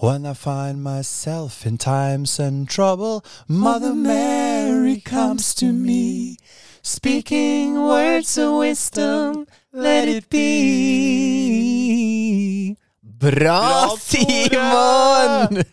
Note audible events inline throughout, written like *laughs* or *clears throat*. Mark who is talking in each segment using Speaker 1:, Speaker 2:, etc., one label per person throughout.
Speaker 1: When I find myself in times and trouble, Mother Mary comes to me, speaking words of wisdom, let it be. Bra,
Speaker 2: Bra, Tore!
Speaker 1: Simon!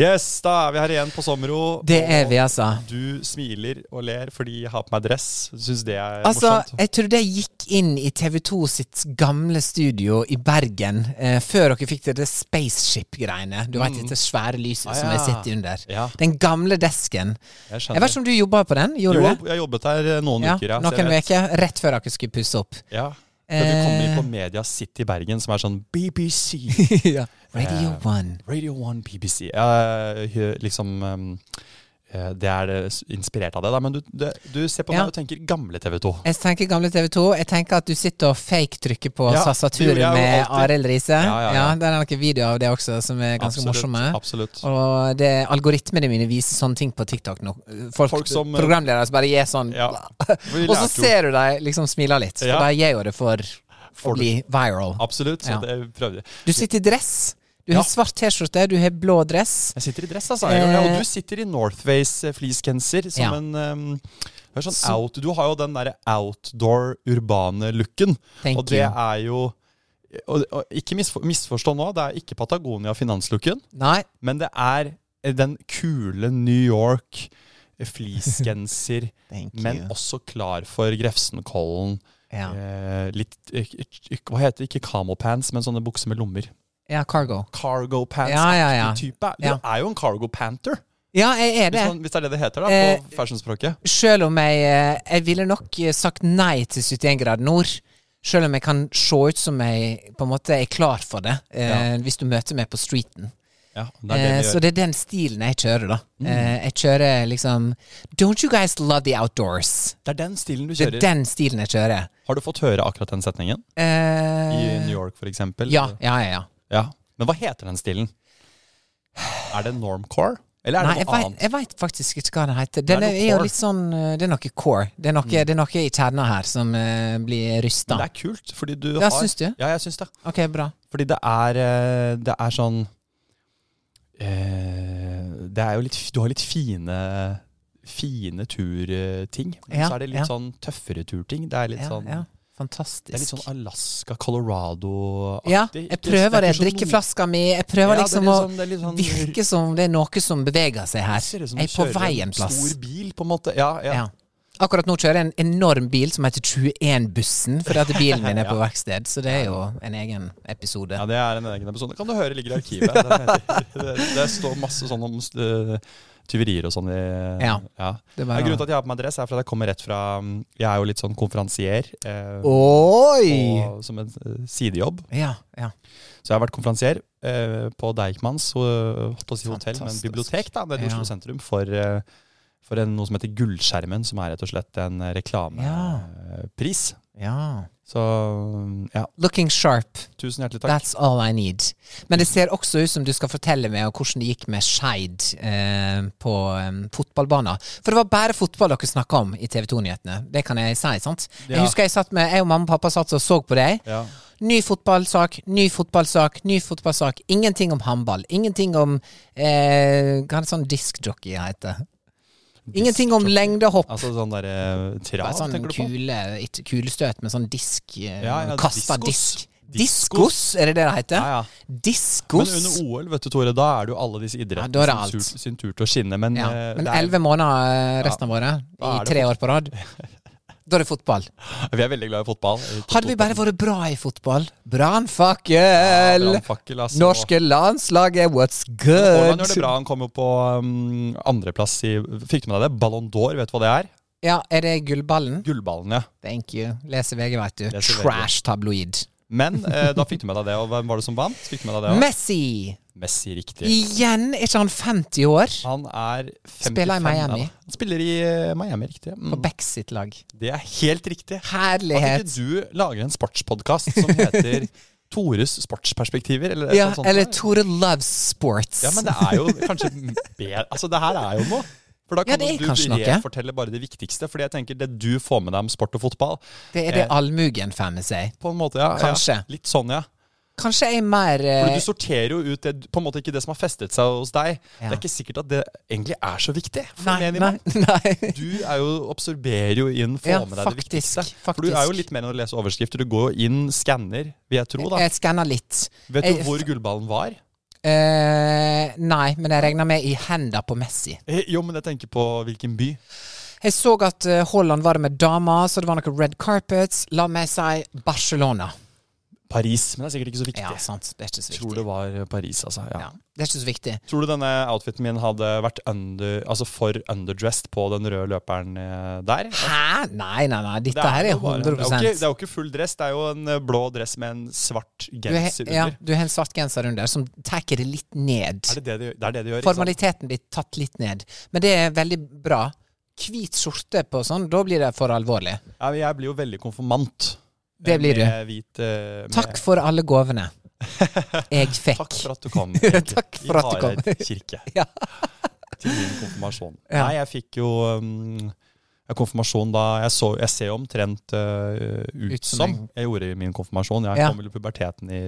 Speaker 2: Yes, da er vi her igjen på Sommero.
Speaker 1: Det er vi, altså.
Speaker 2: Du smiler og ler fordi jeg har på meg dress. Syns det er
Speaker 1: Altså,
Speaker 2: morsomt.
Speaker 1: jeg trodde jeg gikk inn i TV2 sitt gamle studio i Bergen eh, før dere fikk det spaceship-greiene. Du vet, dette svære lyset
Speaker 2: Ah,
Speaker 1: som
Speaker 2: ja.
Speaker 1: jeg sitter under.
Speaker 2: Ja.
Speaker 1: Den gamle desken.
Speaker 2: Jeg skjønner.
Speaker 1: Jeg vet ikke om du jobba på den?
Speaker 2: Jo,
Speaker 1: Gjorde du det?
Speaker 2: jeg jobbet her eh, noen
Speaker 1: Ja,
Speaker 2: uker, ja. så jeg
Speaker 1: noen
Speaker 2: vet.
Speaker 1: uker rett før dere skulle pusse opp. *laughs*
Speaker 2: Ja. Da du kom inn
Speaker 1: Eh.
Speaker 2: på Media City Bergen, som er sånn BBC.
Speaker 1: *laughs* ja. Radio
Speaker 2: Eh,
Speaker 1: One.
Speaker 2: Radio 1 BBC. Ja, hø- liksom eh, eh, Det er det s- inspirert av det, da. Men du, det, du ser på
Speaker 1: Ja.
Speaker 2: meg og tenker gamle TV 2.
Speaker 1: Jeg tenker gamle TV2. Jeg tenker at du sitter og fake-trykker på
Speaker 2: Ja, det gjorde
Speaker 1: Sassaturen
Speaker 2: jeg jo
Speaker 1: med
Speaker 2: alltid.
Speaker 1: Arild Riise.
Speaker 2: Ja, ja, ja.
Speaker 1: det er noen videoer av det også som er ganske morsomme.
Speaker 2: Absolutt.
Speaker 1: Og det, algoritmene mine viser sånne ting på TikTok nå. Folk,
Speaker 2: Folk som- eh,
Speaker 1: programledere som bare gir sånn *laughs*
Speaker 2: Ja. Vi
Speaker 1: Og
Speaker 2: lærte
Speaker 1: så
Speaker 2: jo-
Speaker 1: ser du dem liksom smile litt.
Speaker 2: Ja.
Speaker 1: Og de gjør jo det for,
Speaker 2: For
Speaker 1: å bli viral.
Speaker 2: Absolutt. Så
Speaker 1: Ja.
Speaker 2: det prøvde jeg.
Speaker 1: Du sitter i dress. Du
Speaker 2: Ja.
Speaker 1: har svart T-skjorte, du har blå dress.
Speaker 2: Jeg sitter i dress, altså.
Speaker 1: Eh.
Speaker 2: og du sitter i Northways fleecegenser som
Speaker 1: Ja.
Speaker 2: en ehm, det er sånn out, Du har jo den derre outdoor, urbane looken.
Speaker 1: Thank
Speaker 2: og det
Speaker 1: you.
Speaker 2: er jo og, og Ikke misfor, misforstå nå, det er ikke Patagonia finanslooken,
Speaker 1: Nei.
Speaker 2: men det er eh, den kule New York eh, fleecegenser,
Speaker 1: *laughs* Thank
Speaker 2: men
Speaker 1: you.
Speaker 2: også klar for Grefsenkollen.
Speaker 1: Ja.
Speaker 2: Eh, litt eh, eh, Hva heter det? Ikke camel pants, men sånne bukser med lommer.
Speaker 1: ja, cargo.
Speaker 2: Cargo pants-aktig
Speaker 1: Ja, ja, ja.
Speaker 2: type. Du
Speaker 1: Ja.
Speaker 2: er jo en cargo panter.
Speaker 1: Ja, jeg er det.
Speaker 2: Hvis, man, hvis det er det det heter da,
Speaker 1: Eh,
Speaker 2: på fashionspråket.
Speaker 1: Selv om jeg eh, Jeg ville nok eh, sagt nei til 71 grader nord. Selv om jeg kan se ut som jeg på en måte er klar for det, eh, hvis du møter meg på streeten.
Speaker 2: Ja, det er det
Speaker 1: eh,
Speaker 2: vi
Speaker 1: så
Speaker 2: gjør. Mm.
Speaker 1: det er den stilen jeg kjører, da. Eh, jeg kjører liksom Don't you guys love the outdoors?
Speaker 2: Det er den stilen du
Speaker 1: Det
Speaker 2: kjører.
Speaker 1: er den stilen jeg kjører.
Speaker 2: Har du fått høre akkurat den setningen?
Speaker 1: Eh,
Speaker 2: I New York, for eksempel?
Speaker 1: ja, ja, ja. ja.
Speaker 2: Ja. Men hva heter den stilen? Er det normcore? Eller er
Speaker 1: Nei,
Speaker 2: det
Speaker 1: jeg
Speaker 2: noe
Speaker 1: vet,
Speaker 2: annet?
Speaker 1: jeg vet faktisk ikke hva den heter.
Speaker 2: Det er
Speaker 1: Den er,
Speaker 2: noe
Speaker 1: er jo
Speaker 2: core. Mm.
Speaker 1: litt sånn eh, Det er noe core. Det er noe, det er noe i kjerna her som eh, blir rysta.
Speaker 2: Men det er kult, fordi du
Speaker 1: Ja,
Speaker 2: har
Speaker 1: syns du?
Speaker 2: Ja, jeg syns det.
Speaker 1: Ok, bra.
Speaker 2: Fordi det er eh, Det er sånn eh, Det er jo litt Du har litt fine Fine turting. Men
Speaker 1: Ja,
Speaker 2: så er det litt
Speaker 1: ja.
Speaker 2: sånn tøffere turting. Det er litt
Speaker 1: Ja,
Speaker 2: sånn
Speaker 1: ja. Fantastisk.
Speaker 2: Det er litt sånn Alaska, Colorado-aktig.
Speaker 1: Ja, jeg prøver det.
Speaker 2: Ikke sånn
Speaker 1: Drikkeflaska mi. Jeg
Speaker 2: Ja,
Speaker 1: prøver
Speaker 2: det er
Speaker 1: liksom
Speaker 2: litt
Speaker 1: å
Speaker 2: sånn- det er litt sånn-
Speaker 1: *laughs* virke som det er noe som beveger seg
Speaker 2: Det
Speaker 1: her.
Speaker 2: ser ut som
Speaker 1: Jeg
Speaker 2: du
Speaker 1: er på
Speaker 2: kjører
Speaker 1: vei en plass.
Speaker 2: Stor bil, på en måte. Ja, ja.
Speaker 1: Ja. Akkurat nå kjører jeg en enorm bil som heter 21-bussen, fordi at bilen
Speaker 2: *laughs*
Speaker 1: min er på verksted. Så det er jo en egen episode.
Speaker 2: Ja, det er en egen episode. Kan du høre ligger i
Speaker 1: *laughs*
Speaker 2: arkivet. Den heter- det, det står masse sånn om eh, tyverier og sånn i
Speaker 1: Ja.
Speaker 2: ja.
Speaker 1: Det er
Speaker 2: Ja,
Speaker 1: bare-
Speaker 2: grunnen til at jeg har på meg dress, er fordi at jeg kommer rett fra mm, Jeg er jo litt sånn konferansier. Eh,
Speaker 1: Oi!
Speaker 2: og, som en eh, sidejobb.
Speaker 1: Ja, ja.
Speaker 2: Så jeg har vært konferansier eh, på Deichmans eh, holdt på å si hotell, men
Speaker 1: Fantastisk.
Speaker 2: bibliotek da, nede i Oslo
Speaker 1: Ja.
Speaker 2: sentrum for, eh, for en, noe som heter Gullskjermen, som er rett og slett en
Speaker 1: Ja.
Speaker 2: reklamepris.
Speaker 1: ja.
Speaker 2: Så ja,
Speaker 1: Looking sharp.
Speaker 2: tusen hjertelig takk.
Speaker 1: That's all I need. Men det ser også ut som du skal fortelle meg om hvordan det gikk med Skeid eh, på eh, fotballbanen. For det var bare fotball dere snakka om i TV 2-nyhetene. Det kan jeg si, sant?
Speaker 2: Ja.
Speaker 1: Jeg husker jeg satt med Jeg og mamma og pappa satt og så på deg.
Speaker 2: Ja.
Speaker 1: Ny fotballsak, ny fotballsak, ny fotballsak. Ingenting om håndball. Ingenting om eh, Hva er det sånn diskjockey heter? Ingenting om lengdehopp.
Speaker 2: Altså sånn der eh,
Speaker 1: Bare
Speaker 2: trav,
Speaker 1: sånn
Speaker 2: tenker du på?
Speaker 1: kule, ikke kulestøt, men sånn disk eh,
Speaker 2: Ja, ja,
Speaker 1: Kasta
Speaker 2: diskos.
Speaker 1: disk. Diskos, er det det det heter?
Speaker 2: Ja, ja. Men
Speaker 1: Diskos.
Speaker 2: under OL, vet du, Tore, da er det jo alle disse idrettene
Speaker 1: da er det alt.
Speaker 2: sin, tur, sin tur til å skinne. Men,
Speaker 1: ja.
Speaker 2: eh,
Speaker 1: Men
Speaker 2: det er-
Speaker 1: elleve måneder eh, resten av året,
Speaker 2: Da er *laughs*
Speaker 1: i
Speaker 2: det
Speaker 1: tre
Speaker 2: fort-
Speaker 1: år på rad. Da er det fotball.
Speaker 2: Vi er veldig glad i fotball.
Speaker 1: Hadde vi bare vært bra i fotball Brannfakkel!
Speaker 2: Brannfakkel, altså.
Speaker 1: Norske landslaget, what's good?
Speaker 2: Haaland gjør det bra. Han kom jo på um, andreplass i Fikk du med deg det? Ballon d'Or, vet du hva det er?
Speaker 1: Ja, er det gullballen?
Speaker 2: Gullballen, ja.
Speaker 1: Thank you. Leser VG, veit du.
Speaker 2: Leser VG.
Speaker 1: Trash tabloid.
Speaker 2: Men eh, da fikk du med deg det, og hvem var det som vant? Fikk du med deg det? også?
Speaker 1: Messi!
Speaker 2: Messi, riktig.
Speaker 1: Igjen? Er ikke han 50 år?
Speaker 2: Han er 55.
Speaker 1: Spiller i Miami.
Speaker 2: ja. Han spiller i eh, Miami, riktig.
Speaker 1: På
Speaker 2: Mm.
Speaker 1: Beck sitt lag.
Speaker 2: Det er helt riktig. At
Speaker 1: Herlighet.
Speaker 2: ikke du lager en sportspodkast som heter Tores sportsperspektiver, eller et
Speaker 1: Ja,
Speaker 2: eller annet sånt.
Speaker 1: eller
Speaker 2: noe.
Speaker 1: Tore loves sports.
Speaker 2: Ja, men det er jo kanskje bedre Altså, det her er jo noe. For da
Speaker 1: Ja,
Speaker 2: kan
Speaker 1: det er
Speaker 2: jo
Speaker 1: kanskje
Speaker 2: du
Speaker 1: noe.
Speaker 2: refortelle bare det viktigste. Fordi jeg tenker det du får med deg om sport og fotball
Speaker 1: Det er det
Speaker 2: Eh.
Speaker 1: allmugen faner seg.
Speaker 2: På en måte, ja.
Speaker 1: Kanskje.
Speaker 2: Ja, litt sånn, ja.
Speaker 1: Kanskje jeg er mer eh,
Speaker 2: Fordi du sorterer jo ut det, på en måte ikke det som har festet seg hos deg. Det
Speaker 1: Ja.
Speaker 2: er ikke sikkert at det egentlig er så viktig. For
Speaker 1: Nei,
Speaker 2: menigmann.
Speaker 1: nei, *laughs* nei.
Speaker 2: Du er jo, absorberer jo inn, får
Speaker 1: Ja,
Speaker 2: med deg det
Speaker 1: faktisk,
Speaker 2: viktigste. For du
Speaker 1: faktisk.
Speaker 2: er jo litt mer enn å lese overskrifter. Du går jo inn, skanner, vil jeg tro. da.
Speaker 1: Jeg skanner litt.
Speaker 2: Vet du
Speaker 1: jeg-
Speaker 2: hvor gullballen var?
Speaker 1: Eh, nei, men jeg regner med i henda på Messi.
Speaker 2: Eh, Jo, men jeg tenker på hvilken by.
Speaker 1: Jeg så at eh, Haaland var med dama, så det var noen red carpets. La meg si Barcelona.
Speaker 2: Paris. Men det er sikkert ikke så viktig.
Speaker 1: Ja, sant. Det er ikke så
Speaker 2: Tror
Speaker 1: viktig.
Speaker 2: det var Paris, altså. Ja.
Speaker 1: Ja. Det er ikke så viktig.
Speaker 2: Tror du denne outfiten min hadde vært under, altså for underdressed på den røde løperen eh, der?
Speaker 1: Hæ? Nei, nei, nei. Dette her er
Speaker 2: jo bare- det, er jo
Speaker 1: 100
Speaker 2: ikke, det er jo ikke full dress, det er jo en eh, blå dress med en svart
Speaker 1: du har,
Speaker 2: genser
Speaker 1: ja,
Speaker 2: under.
Speaker 1: du har en svart genser under som tar det litt ned.
Speaker 2: Er sånn. det, det, de, det er det de gjør? ikke sant?
Speaker 1: Formaliteten blir tatt litt ned. Men det er veldig bra. Hvit skjorte på sånn, da blir det for alvorlig.
Speaker 2: Ja, men jeg blir jo veldig konfirmant.
Speaker 1: Det blir du.
Speaker 2: Med hvit, eh, med,
Speaker 1: Takk for alle gavene
Speaker 2: *laughs*
Speaker 1: jeg fikk.
Speaker 2: Takk for at du
Speaker 1: *laughs*
Speaker 2: kom. Erik.
Speaker 1: Takk for at du
Speaker 2: I
Speaker 1: kom.
Speaker 2: Hareid kirke.
Speaker 1: *laughs* Ja.
Speaker 2: Til min konfirmasjon.
Speaker 1: Ja.
Speaker 2: Nei, jeg fikk jo um, konfirmasjon da Jeg, så, jeg ser jo omtrent øh, ut,
Speaker 1: Ut som
Speaker 2: som
Speaker 1: en-
Speaker 2: jeg gjorde i min konfirmasjon. Jeg
Speaker 1: Ja.
Speaker 2: kom vel i puberteten i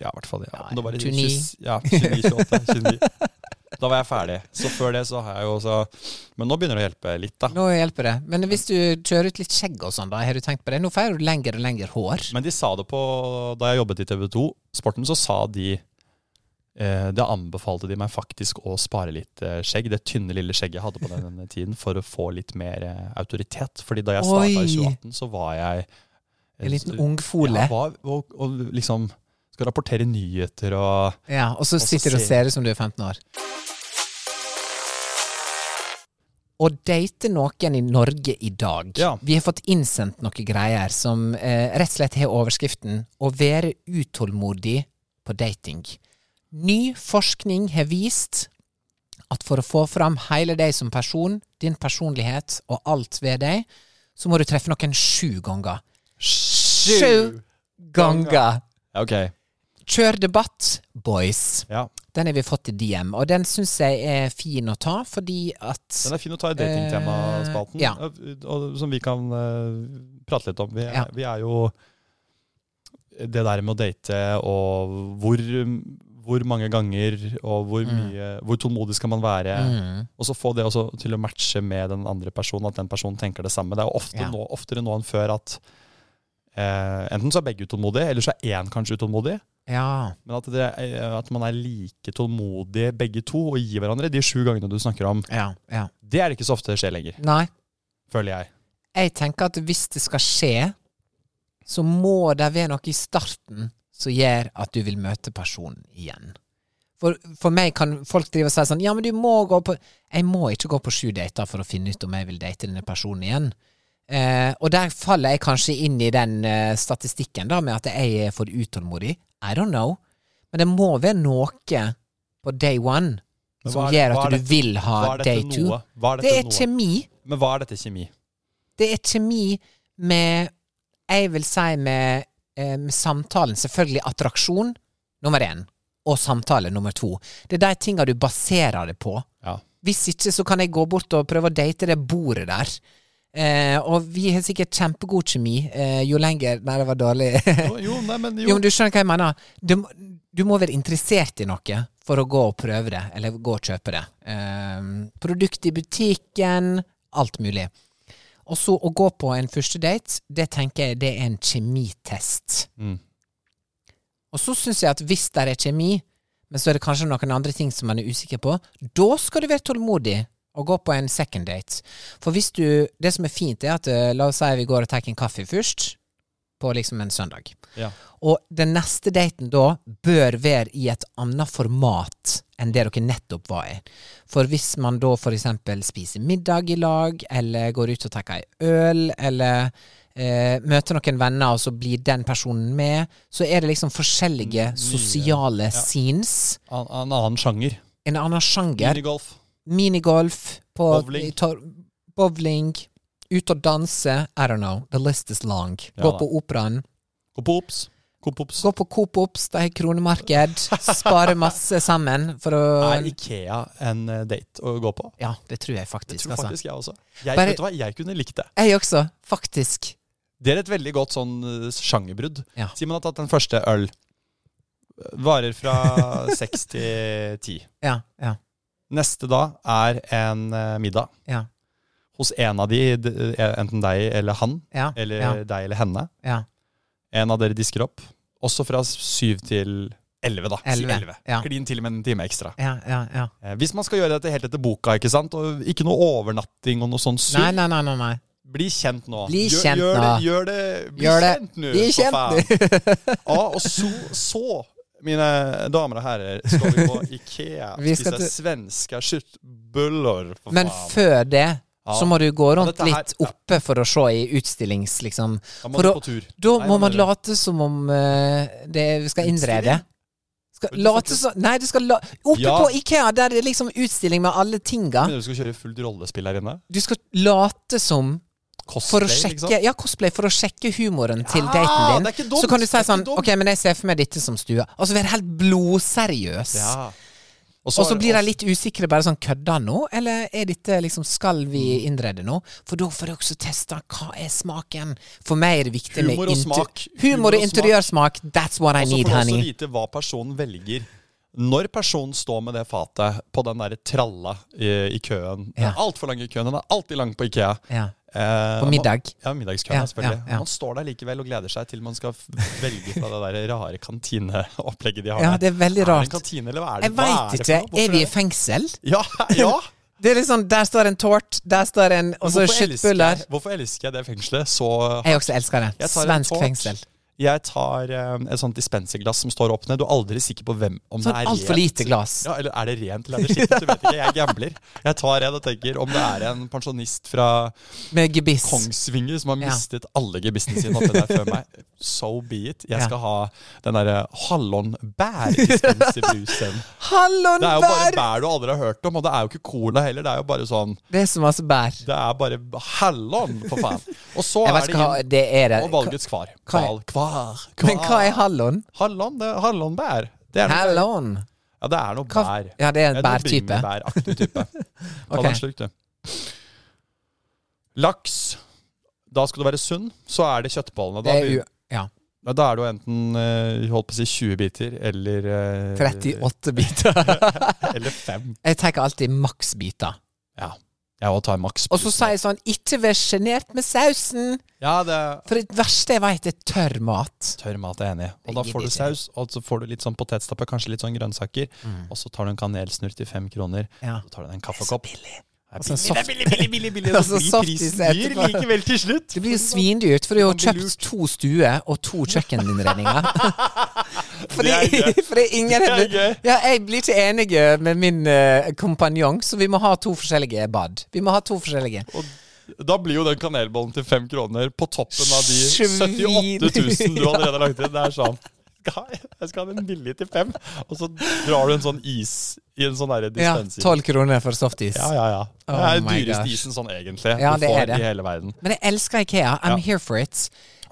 Speaker 2: Ja, i hvert fall. Ja.
Speaker 1: Ja,
Speaker 2: Men da var det
Speaker 1: 29.
Speaker 2: 20 Ja, 29-28.
Speaker 1: *laughs*
Speaker 2: 29. Da var jeg ferdig. Så før det så har jeg jo også Men nå begynner det å hjelpe litt, da.
Speaker 1: Nå hjelper det. Men hvis du kjører ut litt skjegg og sånn, da, har du tenkt på det? Nå får du lengre og lengre hår.
Speaker 2: Men de sa det på Da jeg jobbet i TV 2 Sporten, så sa de eh, Da anbefalte de meg faktisk å spare litt eh, skjegg. Det tynne, lille skjegget jeg hadde på den *laughs* tiden, for å få litt mer eh, autoritet. Fordi da jeg starta
Speaker 1: Oi.
Speaker 2: i 2018, så var jeg eh,
Speaker 1: En liten
Speaker 2: Ja,
Speaker 1: ungfole.
Speaker 2: var, og, og liksom skal rapportere nyheter og
Speaker 1: Ja, og så
Speaker 2: så
Speaker 1: sitter du og
Speaker 2: ser-
Speaker 1: ser ut som du er 15 år. Å date noen i Norge i dag
Speaker 2: Ja.
Speaker 1: Vi har fått innsendt noen greier som eh, rett og slett har overskriften 'Å være utålmodig på dating'. Ny forskning har vist at for å få fram hele deg som person, din personlighet og alt ved deg, så må du treffe noen sju ganger. Sju ganger!
Speaker 2: Ja, ok.
Speaker 1: Kjør debatt, boys.
Speaker 2: Ja.
Speaker 1: Den har vi fått i DM, og den syns jeg er fin å ta, fordi at
Speaker 2: Den er fin å ta i datingtemaspalten,
Speaker 1: Eh, ja.
Speaker 2: og, og, som vi kan eh, prate litt om. Vi er,
Speaker 1: Ja.
Speaker 2: vi er jo Det der med å date og hvor, hvor mange ganger og hvor mye Hvor tålmodig skal man være?
Speaker 1: Mm.
Speaker 2: Og så få det også til å matche med den andre personen, at den personen tenker det samme. Det er jo ofte
Speaker 1: Ja.
Speaker 2: nå, oftere nå enn før at eh, enten så er begge utålmodige, eller så er én kanskje utålmodig.
Speaker 1: Ja.
Speaker 2: Men at, det, er- eh, at man er like tålmodige begge to og gir hverandre de sju gangene du snakker om,
Speaker 1: ja, ja.
Speaker 2: det er det ikke så ofte skjer lenger,
Speaker 1: Nei,
Speaker 2: føler jeg.
Speaker 1: jeg tenker at hvis det skal skje, så må det være noe i starten som gjør at du vil møte personen igjen. For, for meg kan folk drive og si sånn Ja, men du må gå på Jeg må ikke gå på sju dater for å finne ut om jeg vil date denne personen igjen. Eh, og der faller jeg kanskje inn i den eh, statistikken da med at jeg er for utålmodig. I don't know. Men det må være noe på day one
Speaker 2: Men
Speaker 1: som
Speaker 2: hva er-
Speaker 1: gjør
Speaker 2: hva
Speaker 1: at
Speaker 2: er
Speaker 1: du
Speaker 2: dette-
Speaker 1: vil ha
Speaker 2: Hva er
Speaker 1: Ah, day
Speaker 2: dette
Speaker 1: two.
Speaker 2: noe? Hva er
Speaker 1: Det
Speaker 2: dette
Speaker 1: er
Speaker 2: noe?
Speaker 1: kjemi.
Speaker 2: Men hva er dette kjemi?
Speaker 1: Det er kjemi med Jeg vil si med, eh, med samtalen. Selvfølgelig attraksjon nummer én. Og samtale nummer to. Det er de tinga du baserer det på. *laughs*
Speaker 2: Ja.
Speaker 1: Hvis ikke så kan jeg gå bort og prøve å date det bordet der. Eh, og vi har sikkert kjempegod kjemi eh, jo lenger Nei, det var dårlig. *laughs*
Speaker 2: Jo, jo, nei, men
Speaker 1: jo,
Speaker 2: jo.
Speaker 1: men du skjønner hva jeg mener. Du, må- du må være interessert i noe for å gå og prøve det, eller gå og kjøpe det. Eh, produkt i butikken, alt mulig. Og så å gå på en første date, det tenker jeg det er en kjemitest.
Speaker 2: Mm.
Speaker 1: Og så syns jeg at hvis det er kjemi, men så er det kanskje noen andre ting som man er usikker på, da skal du være tålmodig og gå på en second date. For hvis du Det som er fint, er at eh, la oss si vi går og tar en kaffe først, på liksom en søndag.
Speaker 2: Ja.
Speaker 1: Og den neste daten da bør være i et annet format enn det dere nettopp var i. For hvis man da for eksempel spiser middag i lag, eller går ut og tar ei øl, eller eh, møter noen venner, og så blir den personen med, så er det liksom forskjellige
Speaker 2: Mm, mye.
Speaker 1: sosiale scenes.
Speaker 2: An, en annen sjanger.
Speaker 1: En annen sjanger.
Speaker 2: Minigolf.
Speaker 1: Minigolf, på,
Speaker 2: Bowling.
Speaker 1: i tor- bowling, ut og danse. I don't know. The list is long.
Speaker 2: Ja
Speaker 1: Gå
Speaker 2: da.
Speaker 1: på operaen.
Speaker 2: Kopops. Kopops.
Speaker 1: Gå på Coop Ops, de har kronemarked. Spare masse sammen for å
Speaker 2: Er Ikea en eh, date å gå på?
Speaker 1: Ja, det tror jeg
Speaker 2: Det
Speaker 1: faktisk.
Speaker 2: tror
Speaker 1: altså.
Speaker 2: faktisk jeg også. Jeg,
Speaker 1: Bare-
Speaker 2: vet du hva? jeg kunne likt det.
Speaker 1: Jeg også, faktisk.
Speaker 2: Det er et veldig godt sånn eh, sjangerbrudd.
Speaker 1: Ja.
Speaker 2: Simon har tatt den første øl. Varer
Speaker 1: *laughs*
Speaker 2: fra seks til ti.
Speaker 1: Ja, ja,
Speaker 2: Neste da er en eh, middag
Speaker 1: ja.
Speaker 2: hos en av de, d- eh, enten deg eller han,
Speaker 1: ja,
Speaker 2: eller
Speaker 1: ja,
Speaker 2: deg eller henne.
Speaker 1: ja.
Speaker 2: En av dere disker opp. Også fra syv til elleve, da.
Speaker 1: Elleve,
Speaker 2: Si elleve.
Speaker 1: ja.
Speaker 2: Klin til med en time ekstra.
Speaker 1: ja, ja, ja.
Speaker 2: Eh, Hvis man skal gjøre dette helt etter boka, ikke sant, og ikke noe overnatting og noe sånn sur,
Speaker 1: Nei, nei, nei. nei, nei.
Speaker 2: bli kjent nå.
Speaker 1: Bli
Speaker 2: Gjør-
Speaker 1: kjent
Speaker 2: gjør,
Speaker 1: nå.
Speaker 2: Det, gjør det. Bli
Speaker 1: Gjør det.
Speaker 2: kjent nå,
Speaker 1: Bli
Speaker 2: for
Speaker 1: kjent
Speaker 2: faen. Ja, og så, så, mine damer og herrer, skal
Speaker 1: *laughs*
Speaker 2: vi på Ikea
Speaker 1: Vi skal
Speaker 2: spise
Speaker 1: til-
Speaker 2: svenske kjøttbuller, for
Speaker 1: Men
Speaker 2: faen.
Speaker 1: før det
Speaker 2: Ja.
Speaker 1: så må du gå rundt
Speaker 2: dette her-
Speaker 1: litt oppe for å se i utstillings... Liksom.
Speaker 2: Da må
Speaker 1: for
Speaker 2: du
Speaker 1: å-
Speaker 2: på tur.
Speaker 1: Da
Speaker 2: Nei,
Speaker 1: må
Speaker 2: hva
Speaker 1: man
Speaker 2: mener du?
Speaker 1: late som om eh, det vi skal innrede.
Speaker 2: Utstilling?
Speaker 1: Skal,
Speaker 2: du
Speaker 1: late
Speaker 2: snakke-
Speaker 1: som Nei, du skal la Oppe
Speaker 2: Ja.
Speaker 1: på Ikea, der det er liksom utstilling med alle tinga.
Speaker 2: Mener du skal kjøre fullt rollespill her inne?
Speaker 1: Du skal late som for
Speaker 2: Cosplay,
Speaker 1: å sjekke,
Speaker 2: liksom?
Speaker 1: ja, cosplay for å sjekke humoren til
Speaker 2: Ja,
Speaker 1: daten
Speaker 2: det er
Speaker 1: din.
Speaker 2: ikke dumt,
Speaker 1: Så kan du
Speaker 2: det
Speaker 1: si
Speaker 2: er
Speaker 1: sånn
Speaker 2: ikke dumt.
Speaker 1: Ok, men jeg ser for meg dette som stua. Altså være helt blodseriøs.
Speaker 2: Ja.
Speaker 1: Og så blir de litt usikre. Bare sånn Kødder han nå, eller er dette liksom Skal
Speaker 2: Mm.
Speaker 1: vi innrede nå? For da får de også teste hva er smaken. For meg er det viktig med
Speaker 2: Humor og
Speaker 1: inter-
Speaker 2: smak.
Speaker 1: Humor
Speaker 2: Humor og
Speaker 1: og interiørsmak. That's what I
Speaker 2: Og så
Speaker 1: need,
Speaker 2: får du også
Speaker 1: honey.
Speaker 2: vite hva personen velger. Når personen står med det fatet på den derre tralla i, i køen Den
Speaker 1: Ja.
Speaker 2: er altfor lang i køen. Den er alltid lang på Ikea.
Speaker 1: Ja.
Speaker 2: Eh,
Speaker 1: På middag.
Speaker 2: Man, ja, middagskøen,
Speaker 1: Ja,
Speaker 2: selvfølgelig.
Speaker 1: ja, ja.
Speaker 2: Man står der likevel og gleder seg til man skal f- velge fra det der rare kantineopplegget de har.
Speaker 1: Ja,
Speaker 2: der.
Speaker 1: det er veldig
Speaker 2: Er det en
Speaker 1: rart.
Speaker 2: kantine, eller hva er det?
Speaker 1: Jeg
Speaker 2: Hva
Speaker 1: veit
Speaker 2: det for
Speaker 1: ikke.
Speaker 2: noe?
Speaker 1: Er vi i
Speaker 2: Hvorfor
Speaker 1: fengsel?
Speaker 2: det? Ja, *laughs* ja!
Speaker 1: *laughs* Det er litt sånn Der står en tort, der står en Og så
Speaker 2: Hvorfor elsker
Speaker 1: kjøttbuller.
Speaker 2: jeg- Hvorfor elsker jeg det fengselet så
Speaker 1: Jeg også elsker det.
Speaker 2: Jeg tar en
Speaker 1: Svensk
Speaker 2: tort.
Speaker 1: fengsel.
Speaker 2: Jeg tar eh, et sånt dispenserglass som står opp ned. Du er aldri sikker på hvem om
Speaker 1: Sånn
Speaker 2: det er
Speaker 1: altfor
Speaker 2: rent.
Speaker 1: lite glass.
Speaker 2: Ja, eller er det rent eller er det skittent? Du vet ikke, jeg gambler. Jeg tar en og tenker om det er en pensjonist fra
Speaker 1: Med gebiss.
Speaker 2: Kongsvinger som har
Speaker 1: Ja.
Speaker 2: mistet alle gebissene sine oppi der før meg. So be it. Jeg skal ha den derre hallonbærdispenserbrusen.
Speaker 1: Hallon,
Speaker 2: Det er jo bare
Speaker 1: bær!
Speaker 2: bær du aldri har hørt om, og det er jo ikke cola heller. Det er jo bare sånn
Speaker 1: Det er så masse bær.
Speaker 2: Det er bare hallon, for faen. Og så er
Speaker 1: Jeg vet
Speaker 2: det
Speaker 1: ikke hva
Speaker 2: inn
Speaker 1: det er.
Speaker 2: og
Speaker 1: Det.
Speaker 2: valgets kvar.
Speaker 1: hva er-
Speaker 2: Kval, kvar,
Speaker 1: Men hva
Speaker 2: kvar.
Speaker 1: er hallon?
Speaker 2: Hallon, det er hallonbær. Det er noe-
Speaker 1: Hallon.
Speaker 2: Ja, det er noe
Speaker 1: Hva-
Speaker 2: bær.
Speaker 1: Ja, det er
Speaker 2: Det er
Speaker 1: en
Speaker 2: noe
Speaker 1: bærtype.
Speaker 2: bringebæraktig
Speaker 1: *laughs*
Speaker 2: type. Ta
Speaker 1: Ok.
Speaker 2: deg en slurk, du. Laks. Da skal du være sunn. Så er det kjøttbollene. Da,
Speaker 1: Det er u...
Speaker 2: begyn-
Speaker 1: Ja.
Speaker 2: Ja, da er det jo enten eh, holdt på å si 20 biter eller eh,
Speaker 1: 38 biter.
Speaker 2: *laughs* Eller 5.
Speaker 1: Jeg tenker alltid maksbiter.
Speaker 2: Ja. Jeg òg tar maks.
Speaker 1: Og så sier jeg sånn Ikke vær sjenert med sausen!
Speaker 2: Ja, det er
Speaker 1: For det verste jeg vet, er tørr mat.
Speaker 2: tørr mat, jeg er enig. i. Og da
Speaker 1: Jeg
Speaker 2: får du
Speaker 1: gidder ikke.
Speaker 2: saus, og så får du litt sånn potetstappe, kanskje litt sånn grønnsaker. Og så tar du en kanelsnurr til fem kroner.
Speaker 1: Mm. Ja.
Speaker 2: Så tar du deg en kaffekopp.
Speaker 1: Og
Speaker 2: Det
Speaker 1: så
Speaker 2: er billig, det er
Speaker 1: en soft-
Speaker 2: billig, billig, billig, billig.
Speaker 1: Og
Speaker 2: Og så
Speaker 1: så
Speaker 2: blir
Speaker 1: softis
Speaker 2: prisen dyr
Speaker 1: etterpå.
Speaker 2: likevel til slutt.
Speaker 1: Det blir jo svindyrt, for du har jo
Speaker 2: Man blir
Speaker 1: kjøpt to stuer og
Speaker 2: *laughs*
Speaker 1: to kjøkkeninnredninger. Fordi,
Speaker 2: Det er gøy.
Speaker 1: fordi ingen
Speaker 2: Det er gøy.
Speaker 1: Ja, jeg blir ikke enige med min eh, kompanjong, så vi må ha to forskjellige bad. Vi må ha to forskjellige.
Speaker 2: Og da blir jo den kanelbollen til fem kroner på toppen av de
Speaker 1: Svin.
Speaker 2: 78 000 du allerede har lagt inn. Det er sånn «Skal Jeg jeg skal ha den billig til fem, og så drar du en sånn is i en sånn derre
Speaker 1: Ja,
Speaker 2: dispenser.
Speaker 1: Tolv kroner for softis.
Speaker 2: Ja, ja, ja. Det
Speaker 1: Oh
Speaker 2: er den
Speaker 1: my
Speaker 2: dyreste
Speaker 1: gosh.
Speaker 2: isen sånn egentlig
Speaker 1: Ja,
Speaker 2: du
Speaker 1: det
Speaker 2: får
Speaker 1: er det.
Speaker 2: i hele verden.
Speaker 1: Men jeg elsker Ikea. I'm
Speaker 2: Ja.
Speaker 1: here for it.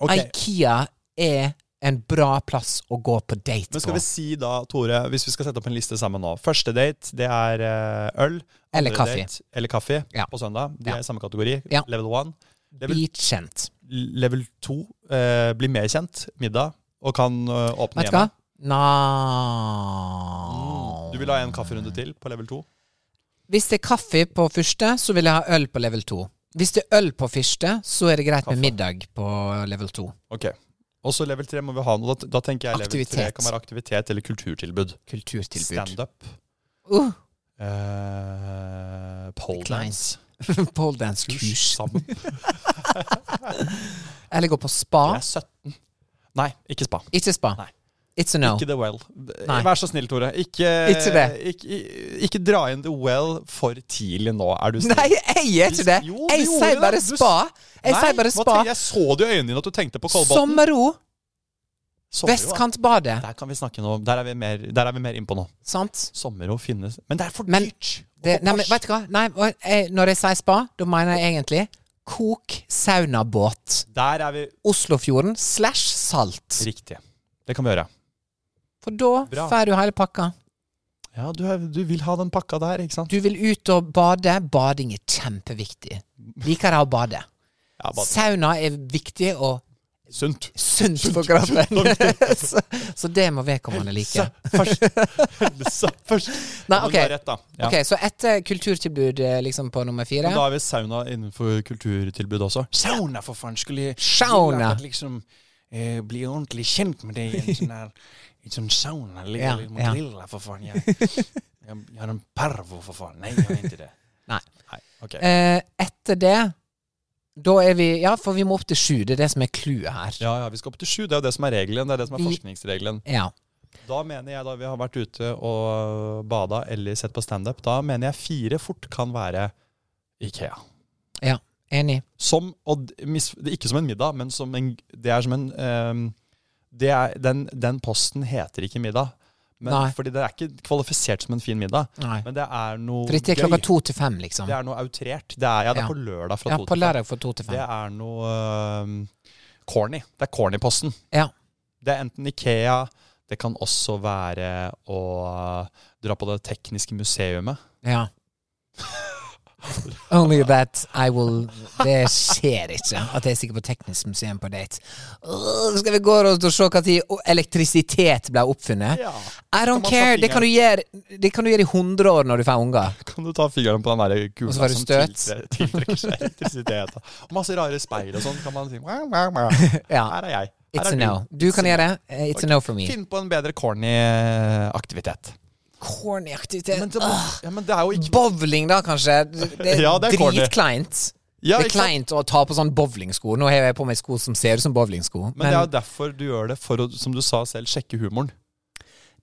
Speaker 2: Ok.
Speaker 1: Ikea er en bra plass å gå på date
Speaker 2: Men skal
Speaker 1: på.
Speaker 2: vi si da, Tore, hvis vi skal sette opp en liste sammen nå Første date, det er eh, øl.
Speaker 1: Eller
Speaker 2: Andre
Speaker 1: kaffe.
Speaker 2: Date, eller kaffe
Speaker 1: Ja.
Speaker 2: på søndag. De
Speaker 1: Ja.
Speaker 2: er i samme kategori.
Speaker 1: Ja.
Speaker 2: Level one. Level,
Speaker 1: Bli kjent.
Speaker 2: level to eh, blir mer kjent. Middag. Og kan eh, åpne
Speaker 1: Vet du hva?
Speaker 2: hjemme.
Speaker 1: No.
Speaker 2: Du vil ha en kafferunde til på level 2?
Speaker 1: Hvis det er kaffe på første, så vil jeg ha øl på level 2. Hvis det er øl på første, så er det greit
Speaker 2: Kaffe.
Speaker 1: med middag på level 2.
Speaker 2: Ok. Og så level 3 må vi ha noe. Da, da tenker jeg level 3
Speaker 1: Aktivitet.
Speaker 2: kan være aktivitet eller kulturtilbud.
Speaker 1: Uh. Kulturtilbud.
Speaker 2: Standup.
Speaker 1: Uh,
Speaker 2: Eh, poledance.
Speaker 1: *laughs* Poledance-kurs.
Speaker 2: sammen.
Speaker 1: Eller gå på spa.
Speaker 2: Jeg er 17. Nei, ikke spa.
Speaker 1: Ikke spa.
Speaker 2: Nei.
Speaker 1: It's a no.
Speaker 2: Ikke The Well.
Speaker 1: Nei.
Speaker 2: Vær så snill, Tore. Ikke,
Speaker 1: Ikke det.
Speaker 2: Ikke, ikke dra inn The Well for tidlig nå, er du snill.
Speaker 1: Nei, jeg gjør ikke det!
Speaker 2: Jo, du
Speaker 1: Jeg
Speaker 2: gjorde
Speaker 1: sier
Speaker 2: det.
Speaker 1: bare
Speaker 2: Du s-
Speaker 1: spa. Jeg
Speaker 2: Nei,
Speaker 1: sier bare
Speaker 2: hva
Speaker 1: spa.
Speaker 2: tenker- Jeg så det i øynene dine at du tenkte på Kolbotn.
Speaker 1: Sommerro.
Speaker 2: Sommerro, ja.
Speaker 1: Vestkantbadet.
Speaker 2: Der kan vi snakke nå. Der er vi mer, der er vi mer innpå nå.
Speaker 1: Sant?
Speaker 2: Sommerro finnes Men det er for
Speaker 1: Men
Speaker 2: dyrt!
Speaker 1: Det,
Speaker 2: Og
Speaker 1: nei, men
Speaker 2: kors.
Speaker 1: vet du hva? Nei, og jeg, når jeg sier spa, da mener jeg egentlig kok saunabåt.
Speaker 2: Der er vi
Speaker 1: Oslofjorden slash salt.
Speaker 2: riktig. Det kan vi gjøre.
Speaker 1: For da
Speaker 2: Bra.
Speaker 1: får du hele pakka.
Speaker 2: Ja, du, er, du vil ha den pakka der, ikke sant?
Speaker 1: Du vil ut og bade. Bading er kjempeviktig. Liker jeg å bade.
Speaker 2: Ja, bare
Speaker 1: Sauna er viktig og
Speaker 2: sunt.
Speaker 1: sunt for
Speaker 2: *laughs*
Speaker 1: kroppen. *laughs* så, så det må vedkommende like.
Speaker 2: Helse
Speaker 1: *laughs*
Speaker 2: først. Helse først.
Speaker 1: Nei,
Speaker 2: Ja, men
Speaker 1: ok.
Speaker 2: du har rett, da. Ja.
Speaker 1: Ok, Så etter kulturtilbud eh, liksom på nummer
Speaker 2: Men da
Speaker 1: fire
Speaker 2: har vi sauna innenfor kulturtilbud også. Sauna, for faen! Skulle
Speaker 1: Sauna.
Speaker 3: At liksom eh, bli ordentlig kjent med deg i en sånn her i en sånn sauna. Ligge
Speaker 1: Ja,
Speaker 3: litt mot
Speaker 1: ja.
Speaker 3: lilla, for faen. Jeg, jeg, jeg har en pervo, for faen. Nei, jeg har ikke det.
Speaker 2: Nei, ok.
Speaker 1: eh, Etter det Da er vi Ja, for vi må opp til sju. Det er det som er clouet her.
Speaker 2: Ja, ja, vi skal opp til sju. Det er jo det som er regelen. Det er det som er
Speaker 1: Vi-
Speaker 2: forskningsregelen.
Speaker 1: Ja.
Speaker 2: Da mener jeg da vi har vært ute og bada eller sett på standup, da mener jeg fire fort kan være Ikea.
Speaker 1: Enig.
Speaker 2: Som, og d- mis, det er ikke som en middag, men som en, det er som en ehm, det er, den, den posten heter ikke middag. Men,
Speaker 1: Nei.
Speaker 2: Fordi det er ikke kvalifisert som en fin middag,
Speaker 1: Nei.
Speaker 2: men det er noe
Speaker 1: For dette er klokka to til fem, liksom.
Speaker 2: Det er noe outrert. Det er, ja, det er
Speaker 1: Ja.
Speaker 2: på lørdag fra
Speaker 1: Ja,
Speaker 2: to
Speaker 1: på
Speaker 2: til fem.
Speaker 1: lørdag fra to til
Speaker 2: Det
Speaker 1: fem.
Speaker 2: er noe ehm, corny. Det er corny-posten.
Speaker 1: Ja.
Speaker 2: Det er enten Ikea, det kan også være å dra på det tekniske museumet.
Speaker 1: Ja.
Speaker 2: *laughs*
Speaker 1: Only that I will Det skjer ikke at jeg er sikker på teknisk museum på date. Åh, skal vi gå rundt og se når elektrisitet ble oppfunnet?
Speaker 2: Ja. Kan
Speaker 1: I
Speaker 2: man
Speaker 1: don't
Speaker 2: ta
Speaker 1: care! Det kan, du gjøre, det kan du gjøre i 100 år når du får unger.
Speaker 2: Kan du ta fingeren på den der
Speaker 1: Og
Speaker 2: kula
Speaker 1: så var det
Speaker 2: som
Speaker 1: støt.
Speaker 2: tiltre- tiltrekker seg elektrisitet? Og masse rare speil og sånn, kan man si. Mæ, mæ, mæ.
Speaker 1: *laughs* Ja,
Speaker 2: Her er jeg. Her
Speaker 1: It's
Speaker 2: er
Speaker 1: a no. Du
Speaker 2: It's a
Speaker 1: kan
Speaker 2: no.
Speaker 1: gjøre det. Eh, It's a no for me.
Speaker 2: Finn på en bedre corny eh, aktivitet.
Speaker 1: Corny
Speaker 2: Men
Speaker 1: aktivitet.
Speaker 2: det, ja, men det er jo ikke
Speaker 1: Bowling, da, kanskje. Det er,
Speaker 2: Ja, det er corny.
Speaker 1: dritkleint.
Speaker 2: ja,
Speaker 1: det er
Speaker 2: ikke sant?
Speaker 1: kleint å ta på sånn bowlingsko. Nå har jeg på meg sko som ser ut som bowlingsko. Men,
Speaker 2: Men det er jo derfor du gjør det, for å, som du sa selv, sjekke humoren.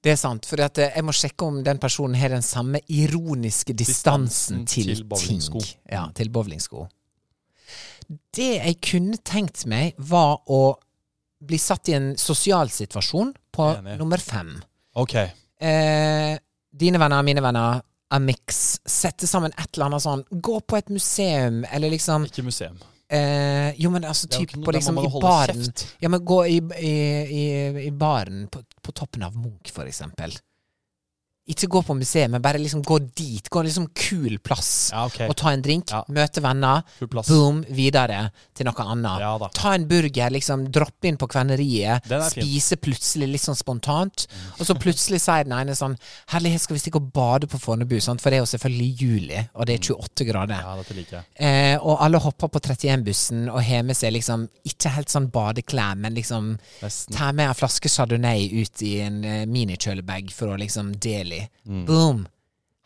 Speaker 1: det er sant, for at eh, jeg må sjekke om den personen har den samme ironiske distansen,
Speaker 2: Distansen
Speaker 1: til,
Speaker 2: til bowlingsko.
Speaker 1: ting. Ja, til bowlingsko. Det jeg kunne tenkt meg, var å bli satt i en sosial situasjon på
Speaker 2: Enig.
Speaker 1: nummer fem.
Speaker 2: Ok.
Speaker 1: eh, dine venner, mine venner, a mix, sette sammen et eller annet sånn Gå på et museum, eller liksom
Speaker 2: Ikke museum.
Speaker 1: eh, Jo, men altså
Speaker 2: Det er jo ikke
Speaker 1: typ
Speaker 2: noe-
Speaker 1: på
Speaker 2: da må
Speaker 1: liksom
Speaker 2: man
Speaker 1: i
Speaker 2: holde
Speaker 1: baren.
Speaker 2: kjeft.
Speaker 1: Ja, men gå i, i, i, i baren på, på toppen av Munch, for eksempel. Ikke gå på museet, men bare liksom gå dit. Gå en liksom kul plass.
Speaker 2: Ja, ok.
Speaker 1: Og ta en drink,
Speaker 2: Ja.
Speaker 1: møte venner,
Speaker 2: Kul plass.
Speaker 1: boom, videre til noe annet.
Speaker 2: Ja da.
Speaker 1: Ta en burger, liksom droppe inn på kverneriet,
Speaker 2: Den er fin. Mm.
Speaker 1: spise plutselig litt sånn spontant, og så plutselig sier den ene sånn Herlighet, skal vi stikke og bade på Fornebu? Sant? For det er jo selvfølgelig juli, og det er 28 grader.
Speaker 2: Mm. Ja, dette liker jeg.
Speaker 1: Eh, og alle hopper på 31-bussen og har med seg liksom ikke helt sånn badeklær, men liksom
Speaker 2: Nesten.
Speaker 1: tar med en flaske chardonnay ut i en eh, minikjølebag for å liksom dele i. Boom!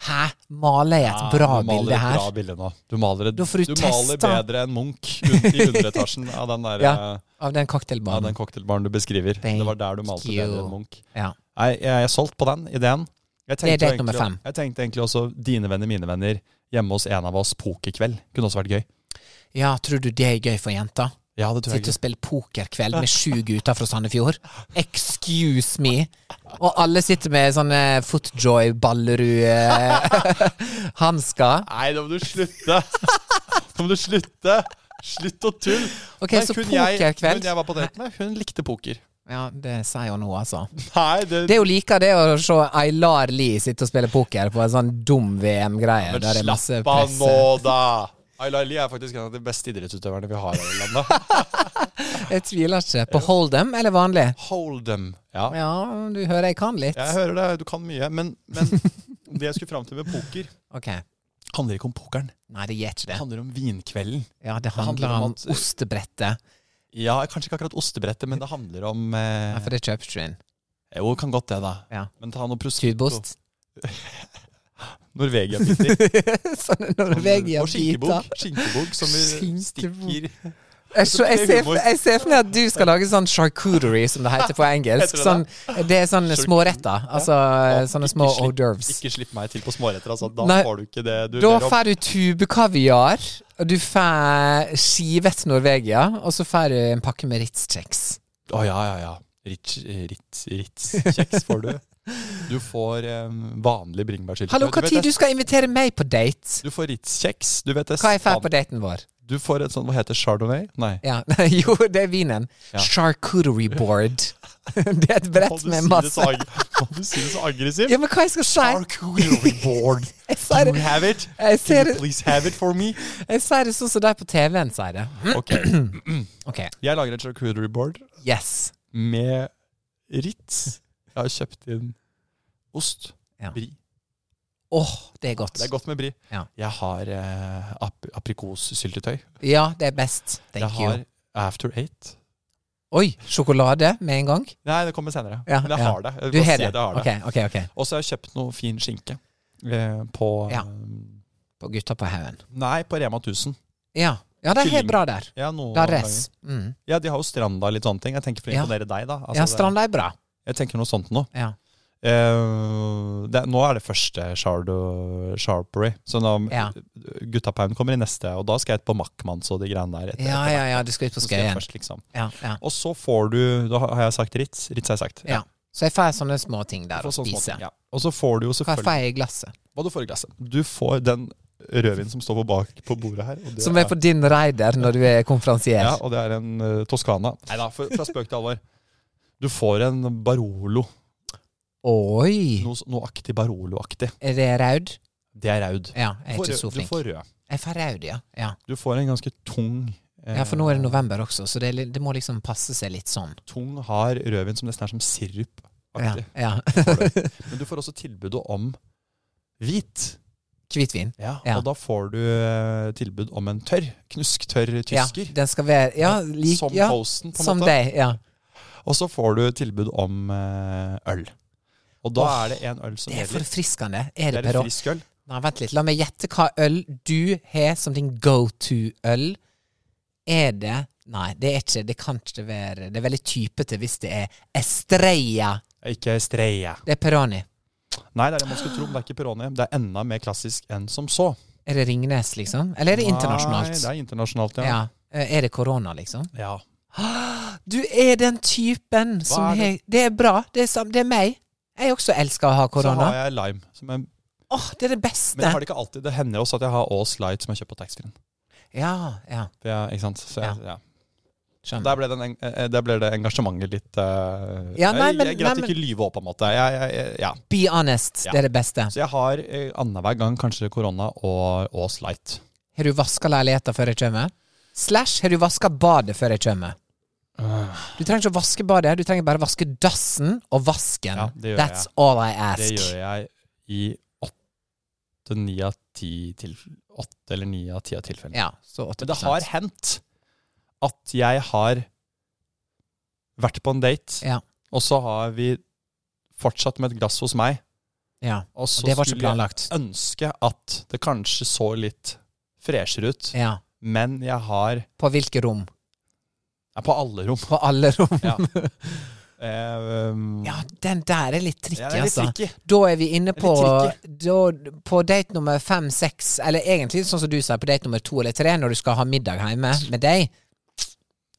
Speaker 1: Hæ? Maler jeg et
Speaker 2: Mm. Ja,
Speaker 1: bra
Speaker 2: du maler
Speaker 1: bilde
Speaker 2: et
Speaker 1: her?
Speaker 2: Bra bilde nå. Du maler, et-
Speaker 1: Da får du
Speaker 2: maler
Speaker 1: testa.
Speaker 2: bedre enn Munch un- i underetasjen av den, der,
Speaker 1: Ja.
Speaker 2: eh,
Speaker 1: Av den
Speaker 2: av
Speaker 1: cocktailbaren.
Speaker 2: den cocktailbaren du beskriver.
Speaker 1: Thank
Speaker 2: det var der du malte
Speaker 1: you.
Speaker 2: bedre enn Munch.
Speaker 1: Ja.
Speaker 2: Nei, jeg jeg er solgt på den ideen. Jeg
Speaker 1: Det er
Speaker 2: tenkte jo
Speaker 1: date nummer
Speaker 2: egentlig-
Speaker 1: fem.
Speaker 2: Jeg tenkte egentlig også dine venner, mine venner, hjemme hos en av oss, pokerkveld. Kunne også vært gøy.
Speaker 1: Ja, tror du det er gøy for jenta?
Speaker 2: Ja, det tror jeg.
Speaker 1: Sitte og
Speaker 2: ikke.
Speaker 1: spille pokerkveld med sju gutter fra Sandefjord? Excuse me! Og alle sitter med sånne
Speaker 2: *laughs*
Speaker 1: Footjoy-Ballerud-hansker.
Speaker 2: Nei, nå må du slutte! *laughs* Nå må du slutte! Slutt å tulle!
Speaker 1: Ok,
Speaker 2: Nei,
Speaker 1: så
Speaker 2: hun jeg, hun
Speaker 1: pokerkveld.
Speaker 2: jeg var på date med, hun likte poker.
Speaker 1: Ja, det sier hun nå, altså.
Speaker 2: Nei, det,
Speaker 1: Det er jo like det å se Aylar Lie sitte og spille poker på en sånn dum VM-greie.
Speaker 2: Men
Speaker 1: Der det er masse
Speaker 2: slapp av
Speaker 1: press. eh.
Speaker 2: nå, da! Ayla Lie er faktisk en av de beste idrettsutøverne vi har her i
Speaker 1: *laughs*
Speaker 2: landet.
Speaker 1: Jeg tviler ikke. På Hold'em eller vanlig?
Speaker 2: Hold them. Ja.
Speaker 1: Ja, du hører jeg kan litt.
Speaker 2: Jeg hører det, du kan mye. Men, *laughs* men det jeg skulle fram til med poker,
Speaker 1: Ok.
Speaker 2: handler ikke om pokeren.
Speaker 1: Nei, det gjør ikke
Speaker 2: Det
Speaker 1: det.
Speaker 2: handler om vinkvelden.
Speaker 1: Ja, det
Speaker 2: handler
Speaker 1: handler
Speaker 2: om
Speaker 1: om
Speaker 2: at-
Speaker 1: ostebrettet.
Speaker 2: Ja, kanskje ikke akkurat ostebrettet, men det handler om
Speaker 1: Nei,
Speaker 2: eh,
Speaker 1: for det kjøper du inn.
Speaker 2: Jo, kan godt det, da.
Speaker 1: Ja.
Speaker 2: Men ta noe prosecco.
Speaker 1: Tudost. *laughs*
Speaker 2: Norvegia-biter.
Speaker 1: Sånne
Speaker 2: Sånn Og skinkebok.
Speaker 1: Norvegia-biter.
Speaker 2: Skinkebok som
Speaker 1: *laughs*
Speaker 2: vi
Speaker 1: Skinkebok.
Speaker 2: stikker
Speaker 1: Jeg, så- jeg, ser-
Speaker 2: Humor.
Speaker 1: jeg ser for meg at du skal lage sånn charcuterie, som det
Speaker 2: *laughs*
Speaker 1: heter på engelsk.
Speaker 2: Heter det
Speaker 1: Sånn, det er sånne småretter. Altså
Speaker 2: Ja,
Speaker 1: sånne
Speaker 2: ikke
Speaker 1: små
Speaker 2: slipp-
Speaker 1: hors d'oeuvres.
Speaker 2: Ikke slipp meg til på småretter, altså. Da
Speaker 1: Nei,
Speaker 2: får du ikke det du
Speaker 1: Da
Speaker 2: ber om.
Speaker 1: får du tubekaviar, og du får skivet Norvegia, og så får du en pakke med Ritz-kjeks.
Speaker 2: Å ja, ja, ja. Ritz- Ritz- Ritz-kjeks får du. Du får em, vanlig bringebærsyltetøy.
Speaker 1: Hallo,
Speaker 2: Du vet
Speaker 1: når
Speaker 2: det-
Speaker 1: du skal invitere meg på date?
Speaker 2: Du får Ritz-kjeks. Du vet det
Speaker 1: Hva jeg får
Speaker 2: span-
Speaker 1: på daten vår?
Speaker 2: Du får et sånt, hva heter det, chardonnay? Nei.
Speaker 1: Ja, *laughs* Jo, det er vinen.
Speaker 2: Ja.
Speaker 1: Charcuterie
Speaker 2: *laughs*
Speaker 1: board. Det er et brett
Speaker 2: Må du si det
Speaker 1: med masse
Speaker 2: så ag- *laughs* Må du si det så aggressivt?
Speaker 1: Ja, men hva jeg skal si? *laughs*
Speaker 2: Charcuterie board.
Speaker 1: Jeg
Speaker 2: Do
Speaker 1: sier
Speaker 2: you
Speaker 1: det,
Speaker 2: have it?
Speaker 1: *laughs* jeg
Speaker 2: Can
Speaker 1: sier
Speaker 2: you
Speaker 1: det,
Speaker 2: please have it for
Speaker 1: *clears throat*
Speaker 2: me?
Speaker 1: jeg sier det sånn som de på TV-en sier det.
Speaker 2: Ok,
Speaker 1: Ok,
Speaker 2: jeg lager et charcuterie board
Speaker 1: yes.
Speaker 2: med Ritz. Jeg har kjøpt inn ost,
Speaker 1: Ja.
Speaker 2: brie.
Speaker 1: Åh, det er godt.
Speaker 2: Det er godt med brie.
Speaker 1: Ja.
Speaker 2: Jeg har eh, ap aprikossyltetøy.
Speaker 1: Ja, det er best.
Speaker 2: Jeg
Speaker 1: Thank you.
Speaker 2: har After Eight.
Speaker 1: Oi, sjokolade med en gang?
Speaker 2: Nei, det kommer senere.
Speaker 1: Ja,
Speaker 2: Men jeg
Speaker 1: ja.
Speaker 2: har det. Jeg
Speaker 1: Du
Speaker 2: bare ser
Speaker 1: har det?
Speaker 2: at jeg har det.
Speaker 1: Ok, ok, ok.
Speaker 2: Og så har jeg kjøpt noe fin skinke eh, på
Speaker 1: Ja.
Speaker 2: eh,
Speaker 1: På gutta på haugen.
Speaker 2: Nei, på Rema 1000.
Speaker 1: Ja. ja, det er helt
Speaker 2: Kylling.
Speaker 1: bra der.
Speaker 2: Ja, noe-
Speaker 1: Det er res. Mm.
Speaker 2: Ja, de har jo Stranda og litt sånne ting. Jeg tenker for å
Speaker 1: Ja.
Speaker 2: imponere deg, da. Altså,
Speaker 1: Ja,
Speaker 2: det-
Speaker 1: Stranda er bra.
Speaker 2: Jeg tenker noe sånt nå.
Speaker 1: Ja.
Speaker 2: Eh, det, nå er det første Shardo Sharpery. Så nå,
Speaker 1: Ja.
Speaker 2: gutta Paun kommer i neste, og da skal jeg ut på Mackmans og de greiene der. etter-
Speaker 1: Ja,
Speaker 2: etter
Speaker 1: ja,
Speaker 2: hvert.
Speaker 1: ja, du skal ut på
Speaker 2: Så skal jeg
Speaker 1: Skøyen.
Speaker 2: først, liksom.
Speaker 1: Ja, ja.
Speaker 2: Og så får du Da har jeg sagt Ritz. Ritz har jeg sagt.
Speaker 1: Ja. Så jeg får sånne små ting der
Speaker 2: For
Speaker 1: å
Speaker 2: sånn
Speaker 1: spise.
Speaker 2: småting, ja. Og så får du jo
Speaker 1: Hva
Speaker 2: selvfølgelig
Speaker 1: får jeg i glasset?
Speaker 2: Hva du får i glasset. Du får den rødvinen som står på bak på bordet her. Og det
Speaker 1: Som er på din raider når du er konferansier.
Speaker 2: Ja, og det er en eh,
Speaker 1: *laughs*
Speaker 2: Toskana. Nei da, for- fra spøk til alvor. Du får en Barolo.
Speaker 1: Oi!
Speaker 2: Noe, s- noe aktig Barolo-aktig.
Speaker 1: Er det raud?
Speaker 2: Det er raud.
Speaker 1: Ja, jeg
Speaker 2: Du
Speaker 1: er
Speaker 2: får
Speaker 1: ikke
Speaker 2: rød-
Speaker 1: så
Speaker 2: du
Speaker 1: flink.
Speaker 2: får rød.
Speaker 1: Jeg får raud, ja. ja.
Speaker 2: Du får en ganske tung eh,
Speaker 1: Ja, For nå er det november også, så det, er li- det må liksom passe seg litt sånn.
Speaker 2: Tung, hard rødvin som nesten er som sirup.
Speaker 1: Ja, ja. *laughs*
Speaker 2: Men du får også tilbudet om hvit.
Speaker 1: Hvitvin. Ja.
Speaker 2: Og da får du eh, tilbud om en tørr, knusktørr
Speaker 1: Ja,
Speaker 2: tysker.
Speaker 1: den skal være Ja, lik,
Speaker 2: som
Speaker 1: ja
Speaker 2: posten, på en
Speaker 1: som
Speaker 2: måte.
Speaker 1: deg. Ja.
Speaker 2: Og så får du tilbud om eh, øl. Og da
Speaker 1: Åh,
Speaker 2: er det en øl som
Speaker 1: Det er
Speaker 2: gjelder.
Speaker 1: forfriskende.
Speaker 2: Det
Speaker 1: Er
Speaker 2: er
Speaker 1: det
Speaker 2: en
Speaker 1: Perot?
Speaker 2: frisk øl.
Speaker 1: Nei, vent litt. La meg gjette hva øl du har som din go to-øl. Er det Nei, det er ikke Det kan ikke være Det er veldig typete hvis det er Estrella.
Speaker 2: Ikke streie.
Speaker 1: Det er Peroni.
Speaker 2: Nei, det er det man skulle tro, men det er ikke Peroni. Det er enda mer klassisk enn som så.
Speaker 1: Er det Ringnes, liksom? Eller er det internasjonalt?
Speaker 2: Nei, det er internasjonalt, ja.
Speaker 1: ja. Eh, Er det korona, liksom?
Speaker 2: ja.
Speaker 1: Du er den typen som
Speaker 2: er
Speaker 1: har
Speaker 2: det?
Speaker 1: Det er bra. Det er, sam- det er meg. Jeg også elsker å ha
Speaker 2: Så
Speaker 1: korona.
Speaker 2: har jeg lime. Som jeg,
Speaker 1: Åh, det er det
Speaker 2: men jeg
Speaker 1: beste!
Speaker 2: har det ikke alltid. Det hender også at jeg har Aas Light som jeg kjøper på taxfree-en.
Speaker 1: Ja, ja.
Speaker 2: For jeg- Ikke sant? Så jeg, ja.
Speaker 1: Skjønner.
Speaker 2: Der, ble den, en- eh, der ble det engasjementet litt eh,
Speaker 1: Ja, nei,
Speaker 2: jeg-
Speaker 1: men-
Speaker 2: Jeg greit
Speaker 1: nei, men-
Speaker 2: ikke lyve opp, på en måte. Jeg, jeg, jeg, ja.
Speaker 1: Be honest.
Speaker 2: Ja.
Speaker 1: Det er det beste.
Speaker 2: Så jeg har eh, annenhver gang kanskje korona og Aas Light.
Speaker 1: Har du vaska leiligheta før jeg kommer? Slash, har du vaska badet før jeg kommer?
Speaker 2: Ah.
Speaker 1: Du trenger ikke å vaske badet, du trenger bare å vaske dassen og vasken.
Speaker 2: Ja, det gjør
Speaker 1: That's
Speaker 2: jeg.
Speaker 1: all I ask.
Speaker 2: Det gjør jeg i åtte, ni av ti til, åtte eller ni av ti av tilfellene.
Speaker 1: Ja, så 80
Speaker 2: Men det har hendt at jeg har vært på en date,
Speaker 1: Ja.
Speaker 2: og så har vi fortsatt med et glass hos meg,
Speaker 1: ja.
Speaker 2: og så
Speaker 1: Og det var ikke
Speaker 2: skulle jeg
Speaker 1: planlagt.
Speaker 2: ønske at det kanskje så litt freshere ut,
Speaker 1: Ja.
Speaker 2: men jeg har
Speaker 1: På hvilke rom?
Speaker 2: er på alle rom.
Speaker 1: På alle rom.
Speaker 2: *laughs* Ja. Eh, um,
Speaker 1: Ja, den der er litt tricky,
Speaker 2: ja, det er litt
Speaker 1: altså.
Speaker 2: tricky.
Speaker 1: Da er vi inne
Speaker 2: Det er
Speaker 1: på
Speaker 2: litt
Speaker 1: da, På date nummer fem, seks, eller egentlig sånn som du sier, på date nummer to eller tre, når du skal ha middag hjemme med deg,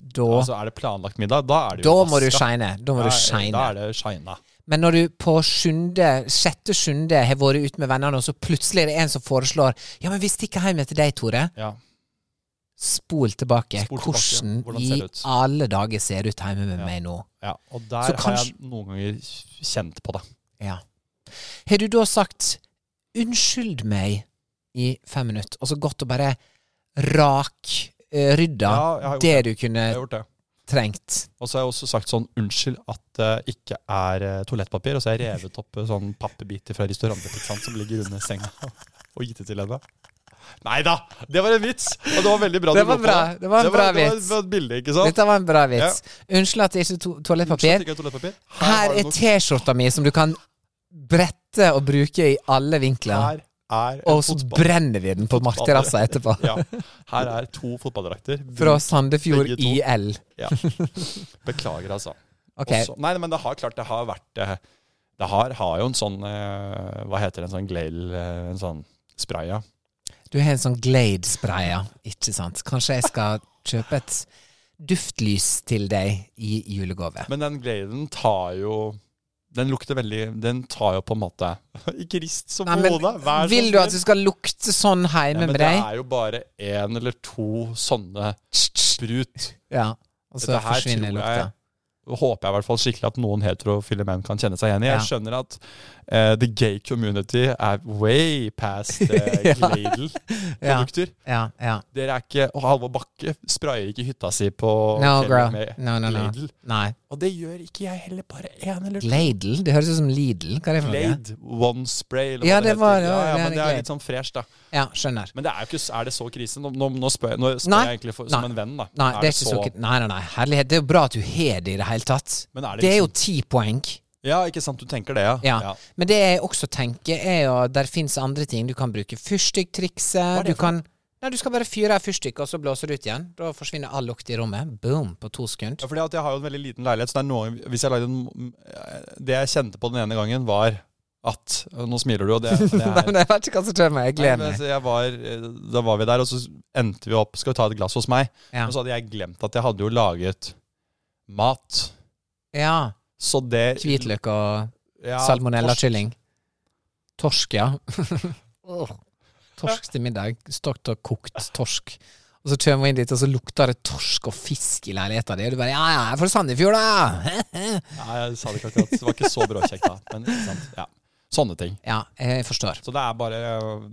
Speaker 1: da
Speaker 2: Altså, er det planlagt middag, da er det
Speaker 1: Da
Speaker 2: jo
Speaker 1: må du
Speaker 2: vaska.
Speaker 1: shine. Da
Speaker 2: Da
Speaker 1: må du
Speaker 2: er- Da
Speaker 1: shine.
Speaker 2: er det shina.
Speaker 1: Men når du på sjunde, sjette sjunde har vært ute med vennene, og så plutselig er det en som foreslår Ja, men vi stikker hjem til deg, Tore.
Speaker 2: Ja.
Speaker 1: Spol tilbake.
Speaker 2: Spol tilbake.
Speaker 1: Hvordan,
Speaker 2: Hvordan ser det ut?
Speaker 1: i alle dager ser det ut hjemme med
Speaker 2: Ja.
Speaker 1: meg nå?
Speaker 2: Ja, og
Speaker 1: Så
Speaker 2: der har
Speaker 1: kanskje-
Speaker 2: jeg noen ganger kjent på det.
Speaker 1: Ja. Har du da sagt 'unnskyld meg' i fem minutter, og så gått og bare rak eh, rydda
Speaker 2: Ja, jeg har gjort
Speaker 1: det
Speaker 2: det.
Speaker 1: du
Speaker 2: Jeg har
Speaker 1: kunne
Speaker 2: gjort det.
Speaker 1: trengt?
Speaker 2: Og så har jeg også sagt sånn unnskyld at det ikke er eh, toalettpapir, og så har jeg revet opp eh, sånn pappebiter fra restaurantpizzaen som ligger under senga, *laughs* og gitt det til henne. Nei da! Det var en vits! Og det var veldig bra.
Speaker 1: Det
Speaker 2: du
Speaker 1: var
Speaker 2: lo på
Speaker 1: bra. Det var en bra
Speaker 2: det
Speaker 1: vits.
Speaker 2: Det var et bilde, ikke sant?
Speaker 1: Dette var en bra vits. Unnskyld at det ikke er to
Speaker 2: Unnskyld at
Speaker 1: toalettpapir.
Speaker 2: det ikke er toalettpapir.
Speaker 1: Her
Speaker 2: har
Speaker 1: er
Speaker 2: du noe-
Speaker 1: T-skjorta mi som du kan brette og bruke i alle vinkler.
Speaker 2: Her er en
Speaker 1: Og så
Speaker 2: fotball.
Speaker 1: brenner vi den på markterrassa etterpå.
Speaker 2: *laughs* Ja. Her er to fotballdrakter.
Speaker 1: Fra Sandefjord
Speaker 2: Begge to.
Speaker 1: IL.
Speaker 2: Ja. Beklager, altså.
Speaker 1: Ok,
Speaker 2: Også, nei, men det har klart det har vært eh, Det har, har jo en sånn eh, Hva heter det, en sånn Glale eh, En sånn spray, ja.
Speaker 1: du har en sånn Glade-sprayer, ikke sant? Kanskje jeg skal kjøpe et duftlys til deg i julegave.
Speaker 2: Men den Gladen tar jo Den lukter veldig Den tar jo på en måte *laughs* Ikke rist som
Speaker 1: Nei,
Speaker 2: på
Speaker 1: men
Speaker 2: hodet! Vær sånn så
Speaker 1: Vil du
Speaker 2: snill.
Speaker 1: at det skal lukte sånn
Speaker 2: Nei,
Speaker 1: hjemme
Speaker 2: men
Speaker 1: med
Speaker 2: det
Speaker 1: deg?
Speaker 2: er jo bare én eller to sånne sprut.
Speaker 1: Ja, og så
Speaker 2: Dette her
Speaker 1: forsvinner
Speaker 2: tror jeg-
Speaker 1: lukta.
Speaker 2: Håper jeg i hvert fall skikkelig at noen heterofile menn kan kjenne seg igjen i. Jeg
Speaker 1: Ja.
Speaker 2: skjønner at eh, the gay community er way past eh,
Speaker 1: *laughs* Ja. *laughs* Ja,
Speaker 2: Gladel-produkter.
Speaker 1: ja, ja.
Speaker 2: Dere er ikke Og Halvor Bakke sprayer ikke hytta si på
Speaker 1: No,
Speaker 2: fjellet
Speaker 1: girl.
Speaker 2: med
Speaker 1: No, no, no.
Speaker 2: Gladel.
Speaker 1: Nei.
Speaker 2: Og det gjør ikke jeg heller, bare én eller to.
Speaker 1: Gladel? Det høres ut som Lidl. Hva er det for noe?
Speaker 2: Glade One Spray, eller hva
Speaker 1: Ja,
Speaker 2: det
Speaker 1: det var-
Speaker 2: heter.
Speaker 1: det var-
Speaker 2: ja, ja,
Speaker 1: det er
Speaker 2: men det
Speaker 1: Glade.
Speaker 2: er litt sånn fresh, da.
Speaker 1: Ja, skjønner.
Speaker 2: Men det er jo ikke Er det så krise? Nå, nå, nå spør, jeg- nå spør
Speaker 1: Nei.
Speaker 2: jeg egentlig for, som
Speaker 1: Nei.
Speaker 2: en venn, da.
Speaker 1: Nei, det er ikke så... nei, nei, nei. Herlighet. Det er jo bra at du har det i det hele tatt.
Speaker 2: Men er det,
Speaker 1: Det er jo
Speaker 2: liksom,
Speaker 1: ti poeng.
Speaker 2: Ja, ikke sant. Du tenker det, ja.
Speaker 1: Ja. Men det jeg også tenker, er jo at der fins andre ting. Du kan bruke
Speaker 2: er
Speaker 1: fyrstikktrikset.
Speaker 2: det
Speaker 1: Du kan Nei, du skal bare fyre av fyrstikk, og så blåser du ut igjen. Da forsvinner all lukt i rommet. Boom, på to
Speaker 2: Ja,
Speaker 1: sekunder.
Speaker 2: fordi at jeg har jo en veldig liten leilighet, så det er noe Hvis jeg lagde en eh, Det jeg kjente på den ene gangen, var at øh, Nå smiler du, og det, det
Speaker 1: *laughs* Nei,
Speaker 2: er
Speaker 1: men jeg vet ikke hva som skjer med Jeg gleder
Speaker 2: Nei, men
Speaker 1: meg.
Speaker 2: så jeg var, eh, da var vi der, og så endte vi opp Skal vi ta et glass hos meg?
Speaker 1: Ja.
Speaker 2: Og så hadde jeg glemt at jeg hadde jo laget mat.
Speaker 1: ja.
Speaker 2: Så det
Speaker 1: Hvitløk og
Speaker 2: Ja, torsk.
Speaker 1: salmonellakylling. Torsk,
Speaker 2: *laughs*
Speaker 1: ja. Åh. torsk til middag. Stokt og kokt torsk. Og så kommer hun inn dit, og så lukter det torsk og fisk i leiligheta di. Og du bare Ja, ja, jeg er fra Sandefjord, da!
Speaker 2: Nei, jeg sa det ikke akkurat. Det var ikke så bråkjekt da. Men ikke sant. Ja. Sånne ting.
Speaker 1: ja, jeg forstår.
Speaker 2: Så det er bare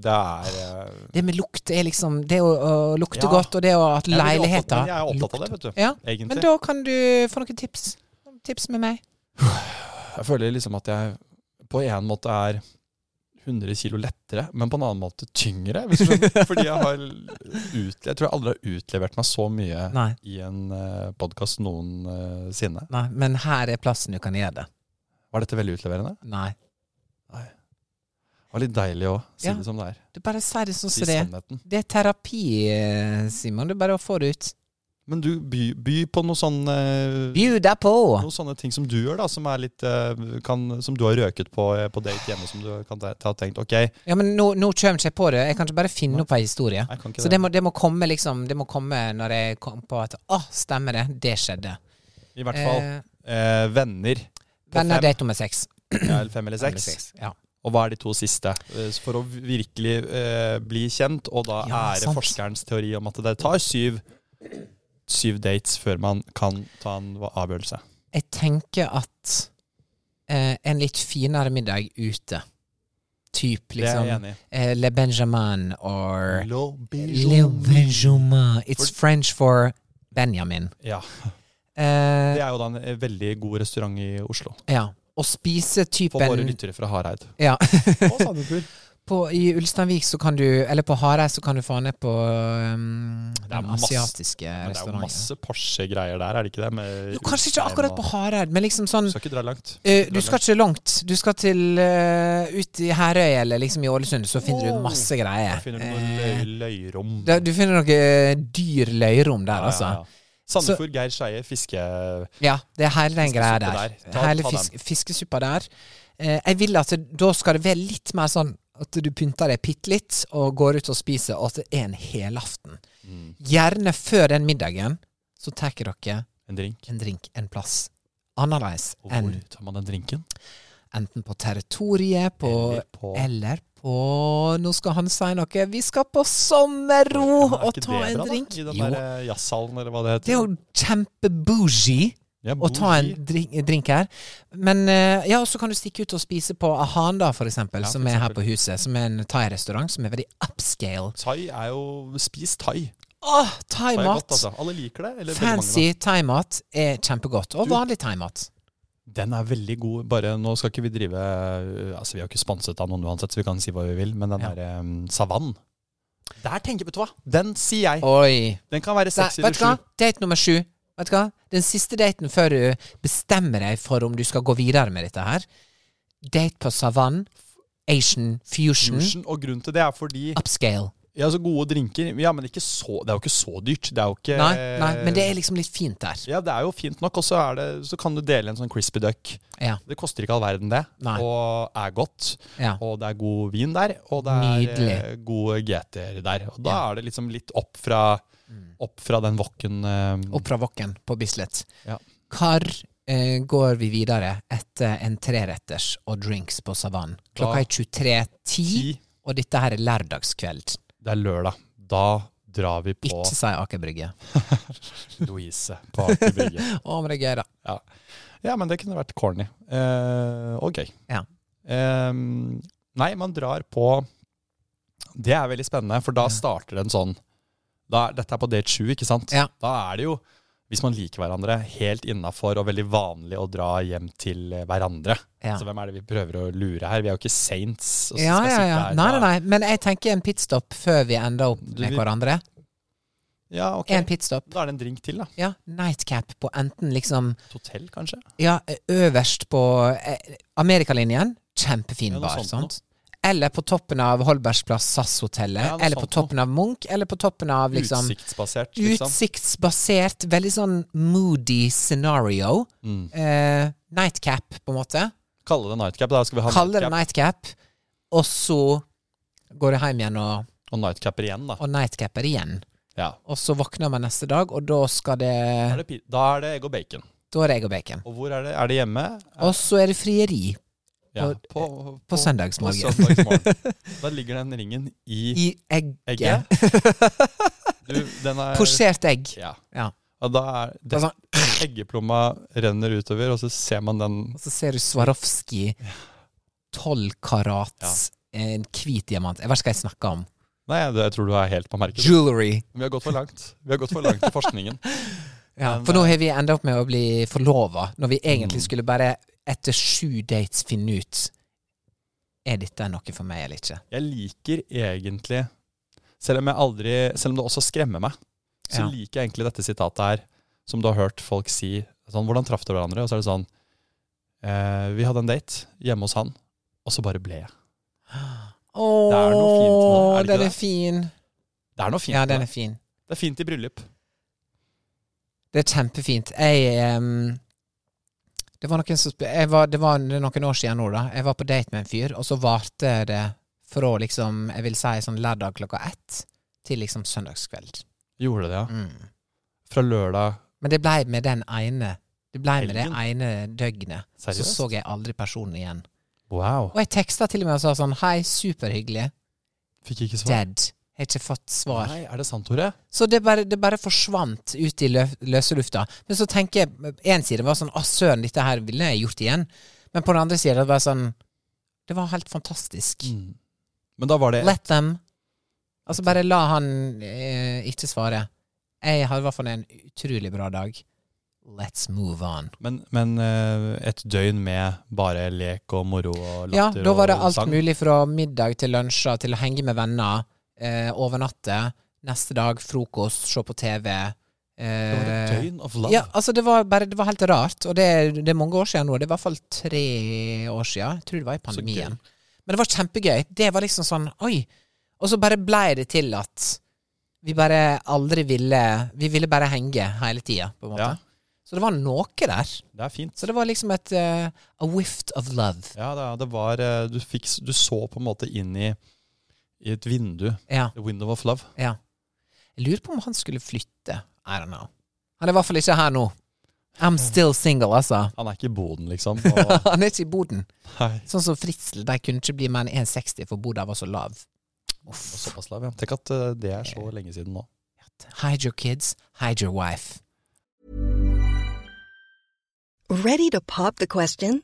Speaker 2: Det er eh,
Speaker 1: Det med lukt er liksom Det å, å lukte
Speaker 2: Ja.
Speaker 1: godt, og det å at
Speaker 2: jeg er veldig opptatt-
Speaker 1: leiligheter
Speaker 2: men Jeg er opptatt av det, vet du.
Speaker 1: Ja,
Speaker 2: Egentlig.
Speaker 1: men da kan du få noen tips. Tips med
Speaker 2: *laughs*
Speaker 1: meg.
Speaker 2: Jeg føler liksom at jeg på en måte er 100 kilo lettere, men på en annen måte tyngre. Hvis du
Speaker 1: *laughs*
Speaker 2: skjønner. Fordi jeg har utle Jeg tror jeg aldri har utlevert meg så mye
Speaker 1: Nei,
Speaker 2: i en uh, podkast noensinne.
Speaker 1: nei, men her er plassen du kan gjøre det.
Speaker 2: Var dette veldig utleverende?
Speaker 1: Nei.
Speaker 2: Det var litt deilig òg. Si
Speaker 1: Ja.
Speaker 2: det som det er.
Speaker 1: Du bare sier det sånn
Speaker 2: Si
Speaker 1: som det er.
Speaker 2: sannheten.
Speaker 1: Det er terapi, eh, Simon. Du bare får det ut.
Speaker 2: Men du, by, by på noe sånn eh,
Speaker 1: Bju deg på!
Speaker 2: noen sånne ting som du gjør, da, som, er litt, eh, kan, som du har røket på eh, på date hjemme, som du kan te- ha tenkt Ok, jeg
Speaker 1: Ja, men nå, nå kommer ikke jeg på det. Jeg kan ikke bare finne opp ei historie.
Speaker 2: kan ikke
Speaker 1: Så det må, det må komme liksom Det må komme når jeg kom på at Å, stemmer det. Det skjedde.
Speaker 2: I hvert fall
Speaker 1: Eh,
Speaker 2: eh, venner. På
Speaker 1: venner
Speaker 2: fem,
Speaker 1: date nummer seks. *clears throat*
Speaker 2: ja, eller fem eller
Speaker 1: Eller
Speaker 2: seks.
Speaker 1: seks, Ja.
Speaker 2: Og hva er de to siste? Eh, For å virkelig eh, bli kjent, og da
Speaker 1: Ja,
Speaker 2: ære
Speaker 1: sant.
Speaker 2: forskerens teori om at det tar syv, syv dates før man kan ta en va- avgjørelse.
Speaker 1: Jeg tenker at eh, en litt finere middag ute Typ
Speaker 2: Det er
Speaker 1: liksom
Speaker 2: jeg enig i.
Speaker 1: eh, Le Benjamin or Le
Speaker 2: Love
Speaker 1: Benjamin It's
Speaker 2: For-
Speaker 1: French for Benjamin.
Speaker 2: Ja,
Speaker 1: Eh,
Speaker 2: det er jo da en eh, veldig god restaurant i Oslo.
Speaker 1: ja. Å spise
Speaker 2: For våre
Speaker 1: typen
Speaker 2: lyttere fra Hareid.
Speaker 1: ja.
Speaker 2: Og Sandefjord.
Speaker 1: på, I Ulsteinvik så kan du Eller på Hareid så kan du få ned på um,
Speaker 2: Det er
Speaker 1: den
Speaker 2: masse-
Speaker 1: asiatiske
Speaker 2: Men det er jo
Speaker 1: restauranten.
Speaker 2: masse Porsche-greier der, er det ikke det? Med
Speaker 1: Jo, kanskje ikke akkurat på Hareid, men liksom sånn
Speaker 2: Skal ikke dra langt.
Speaker 1: Eh, du skal ikke langt. Du skal til eh, ut i Herøy eller liksom i Ålesund, så finner du masse greier.
Speaker 2: Da finner du
Speaker 1: Eh,
Speaker 2: noe løy løyrom.
Speaker 1: da- du finner noe eh, dyr løyrom
Speaker 2: Ja,
Speaker 1: der,
Speaker 2: ja,
Speaker 1: altså.
Speaker 2: ja. Sandefjord, Geir Skeie, fiske...
Speaker 1: Ja, det er hele den greia
Speaker 2: Fiskesuppa
Speaker 1: der.
Speaker 2: der. Ta-
Speaker 1: hele
Speaker 2: ta
Speaker 1: fis fiskesuppa der. Eh, jeg vil at det- da skal det være litt mer sånn at du pynter deg bitte litt og går ut og spiser, og at det er en helaften.
Speaker 2: Mm,
Speaker 1: Gjerne før den middagen, så tar dere
Speaker 2: en drink.
Speaker 1: en drink en plass. Annerledes
Speaker 2: Og hvor
Speaker 1: enn
Speaker 2: tar man den drinken?
Speaker 1: enten på territoriet, på
Speaker 2: Eller på
Speaker 1: Eller på Nå skal han si noe. Vi skal på sommerro
Speaker 2: Er
Speaker 1: og
Speaker 2: ikke
Speaker 1: ta
Speaker 2: det
Speaker 1: en
Speaker 2: bra, da?
Speaker 1: drink.
Speaker 2: I den
Speaker 1: Jo,
Speaker 2: der eh, jazzhallen, eller hva det
Speaker 1: det er
Speaker 2: heter.
Speaker 1: jo kjempebougie
Speaker 2: Ja,
Speaker 1: å ta en
Speaker 2: bougie.
Speaker 1: drink, drink her. Men eh, ja, så kan du stikke ut og spise på Ahan, da, for eksempel,
Speaker 2: Ja, for
Speaker 1: som er her
Speaker 2: eksempel.
Speaker 1: på huset. Som er en thai-restaurant som er veldig upscale.
Speaker 2: Thai er jo Spis thai.
Speaker 1: Åh,
Speaker 2: Thai er godt,
Speaker 1: thaimat!
Speaker 2: altså. Alle liker det. Eller veldig mange,
Speaker 1: Fancy thaimat er kjempegodt. Og
Speaker 2: Du-
Speaker 1: vanlig thaimat.
Speaker 2: da. Den er veldig god. Bare nå skal ikke vi drive eh, Altså, vi har ikke sponset av noen uansett, så vi kan si hva vi vil, men den
Speaker 1: Ja.
Speaker 2: der um, savann Der tenker Vet du hva? Den sier jeg.
Speaker 1: Oi.
Speaker 2: Den kan være
Speaker 1: Nei,
Speaker 2: seks eller
Speaker 1: vet du hva?
Speaker 2: sju.
Speaker 1: Date nummer sju. Vet du hva? Den siste daten før du bestemmer deg for om du skal gå videre med dette her, Date på savannen. Asian fusion.
Speaker 2: Fusion, og grunnen til det er fordi
Speaker 1: Upscale.
Speaker 2: Ja, så gode drinker Ja, men ikke så, det er jo ikke så dyrt. Det er jo ikke
Speaker 1: Nei, nei, men det er liksom litt fint der.
Speaker 2: Ja, det er jo fint nok, og så, er det, så kan du dele en sånn crispy duck.
Speaker 1: Ja.
Speaker 2: Det koster ikke all verden, det.
Speaker 1: Nei.
Speaker 2: Og er godt.
Speaker 1: ja.
Speaker 2: Og det er god vin der, og det er
Speaker 1: Nydelig.
Speaker 2: eh, gode GT-er der. Og da
Speaker 1: Ja.
Speaker 2: er det liksom litt opp fra, opp fra den wokken eh,
Speaker 1: Opp fra Vokken på Bislett.
Speaker 2: Ja.
Speaker 1: Hvor eh, går vi videre etter en treretters og drinks på savannen? Klokka
Speaker 2: Da-
Speaker 1: er 23.10,
Speaker 2: i.
Speaker 1: og dette her er lørdagskveld.
Speaker 2: Det er lørdag. Da drar vi på
Speaker 1: Ikke si Aker Brygge.
Speaker 2: Louise på Aker Brygge.
Speaker 1: *laughs* Å, men det er gøy, da.
Speaker 2: Ja, men det kunne vært corny. Eh, og gøy.
Speaker 1: Ja.
Speaker 2: Eh, nei, man drar på Det er veldig spennende, for da
Speaker 1: Ja.
Speaker 2: starter det en sånn da, er- Dette er på date sju, ikke sant?
Speaker 1: Ja.
Speaker 2: Da er det jo, hvis man liker hverandre, helt innafor og veldig vanlig å dra hjem til eh, hverandre.
Speaker 1: Ja.
Speaker 2: Så hvem er det vi prøver å lure her? Vi er jo ikke saints. og så
Speaker 1: Ja,
Speaker 2: skal
Speaker 1: ja,
Speaker 2: sitte
Speaker 1: ja.
Speaker 2: her.
Speaker 1: Nei, nei, nei. Men jeg tenker en pitstop før vi ender opp
Speaker 2: Du,
Speaker 1: med
Speaker 2: vi-
Speaker 1: hverandre.
Speaker 2: Ja, ok.
Speaker 1: En pitstop.
Speaker 2: Da er det en drink til, da.
Speaker 1: Ja, nightcap på enten liksom
Speaker 2: Et hotell, kanskje?
Speaker 1: Ja, øverst på eh, Amerikalinjen. Kjempefin
Speaker 2: Ja, noe
Speaker 1: bar.
Speaker 2: sånt
Speaker 1: sant? Eller på toppen av Holbergsplass SAS-hotellet.
Speaker 2: Ja, noe
Speaker 1: eller på
Speaker 2: sånt
Speaker 1: toppen av Munch. Eller på toppen av liksom
Speaker 2: Utsiktsbasert, liksom.
Speaker 1: Utsiktsbasert, veldig sånn moody scenario.
Speaker 2: Mm.
Speaker 1: Eh, nightcap, på en måte.
Speaker 2: Kalle det nightcap. Da skal vi ha
Speaker 1: Kaller det
Speaker 2: nightcap.
Speaker 1: nightcap. Og så går du hjem igjen og,
Speaker 2: Og nightcapper igjen, da.
Speaker 1: og nightcapper igjen.
Speaker 2: Ja.
Speaker 1: Og så våkner man neste dag, og da skal det
Speaker 2: Da er det, pi- da er det egg og bacon.
Speaker 1: Da er det egg og bacon.
Speaker 2: Og hvor er det? Er det hjemme?
Speaker 1: Og så er det frieri
Speaker 2: Ja,
Speaker 1: på-
Speaker 2: på,
Speaker 1: på søndagsmorgen.
Speaker 2: på søndagsmorgen.
Speaker 1: *laughs*
Speaker 2: Da ligger den ringen i
Speaker 1: i egget.
Speaker 2: egget. Du, den er
Speaker 1: Posjert egg.
Speaker 2: Ja.
Speaker 1: Ja.
Speaker 2: Og da er det,
Speaker 1: Og sånn,
Speaker 2: eggeplomma renner utover, og så ser man den
Speaker 1: og så ser du Swarovski. Tolv karats, en hvit diamant. Jeg vet ikke hva jeg snakker om.
Speaker 2: Nei, det- jeg tror du er helt på merket.
Speaker 1: Jewelry.
Speaker 2: Vi har gått for langt. Vi har gått for langt i forskningen.
Speaker 1: Ja,
Speaker 2: Men,
Speaker 1: for nå har vi enda opp med å bli forlova, når vi
Speaker 2: Mm.
Speaker 1: egentlig skulle bare etter sju dates finne ut Er dette noe for meg eller ikke.
Speaker 2: Jeg liker egentlig Selv om jeg aldri Selv om det også skremmer meg, så
Speaker 1: Ja.
Speaker 2: liker jeg egentlig dette sitatet her, som du har hørt folk si sånn Hvordan traff dere hverandre? Og så er det sånn eh, Vi hadde en date hjemme hos han, og så bare ble jeg.
Speaker 1: Å,
Speaker 2: er noe fint med det, er det ikke
Speaker 1: den er
Speaker 2: det?
Speaker 1: fin.
Speaker 2: Det er noe fint.
Speaker 1: Ja,
Speaker 2: med
Speaker 1: den
Speaker 2: det.
Speaker 1: er fin.
Speaker 2: det er fint i bryllup.
Speaker 1: Det er kjempefint. Jeg ehm, Det var noen som sp- jeg var, Det var noen år siden nå, da. Jeg var på date med en fyr, og så varte det fra liksom Jeg vil si sånn lørdag klokka ett til liksom søndagskveld.
Speaker 2: Gjorde det, ja.
Speaker 1: Mm.
Speaker 2: Fra lørdag
Speaker 1: Men det blei med den ene Det blei med det
Speaker 2: Helgen?
Speaker 1: ene døgnet. Så
Speaker 2: Seriøst?
Speaker 1: så jeg aldri personen igjen.
Speaker 2: Wow.
Speaker 1: Og jeg teksta til og med og sa sånn Hei, superhyggelig.
Speaker 2: Fikk ikke svar.
Speaker 1: Dead. Jeg har ikke fått svar.
Speaker 2: Nei, er det sant, Tore?
Speaker 1: Så det bare, det bare forsvant ut i lø løse lufta. Men så tenker jeg En side var sånn Å, søren, dette her ville jeg gjort igjen. Men på den andre sida var det sånn Det var helt fantastisk.
Speaker 2: Mm. Men da var det
Speaker 1: Let them. Altså, bare la han eh, ikke svare. Jeg har i hvert fall en utrolig bra dag. Let's move on.
Speaker 2: Men, men eh, et døgn med bare lek og moro og
Speaker 1: Ja,
Speaker 2: latter
Speaker 1: da var det
Speaker 2: og
Speaker 1: alt
Speaker 2: sang.
Speaker 1: mulig fra middag til lunsjer til å henge med venner, eh, overnatte, neste dag frokost, se på TV.
Speaker 2: Det var et
Speaker 1: Eh,
Speaker 2: døgn of love.
Speaker 1: Ja, altså det var, bare, det var helt rart, og det, det er mange år siden nå. Det er i hvert fall tre år siden. Jeg tror det var i pandemien. Men det var kjempegøy. Det var liksom sånn Oi! Og så bare blei det til at vi bare aldri ville Vi ville bare henge hele tida, på en måte.
Speaker 2: Ja.
Speaker 1: Så det var noe der.
Speaker 2: Det er fint.
Speaker 1: Så det var liksom et eh, A whift of love.
Speaker 2: Ja, det, det var eh, du, fikk, du så på en måte inn i, i et vindu.
Speaker 1: Ja,
Speaker 2: The window of love.
Speaker 1: ja. Jeg lurer på om han skulle flytte. I don't know. Han er i hvert fall ikke her nå. I'm still single, altså.
Speaker 2: Han er ikke i boden, *laughs* liksom. Og,
Speaker 1: *laughs* Han er ikke i Boden.
Speaker 2: nei,
Speaker 1: Sånn som Fritzl, de kunne ikke bli mer enn 1,60 for Boda var så lav.
Speaker 2: og såpass lav, ja. Tenk at eh, det er så lenge siden nå.
Speaker 1: Hide your kids, hide your wife.
Speaker 4: Ready to pop the question?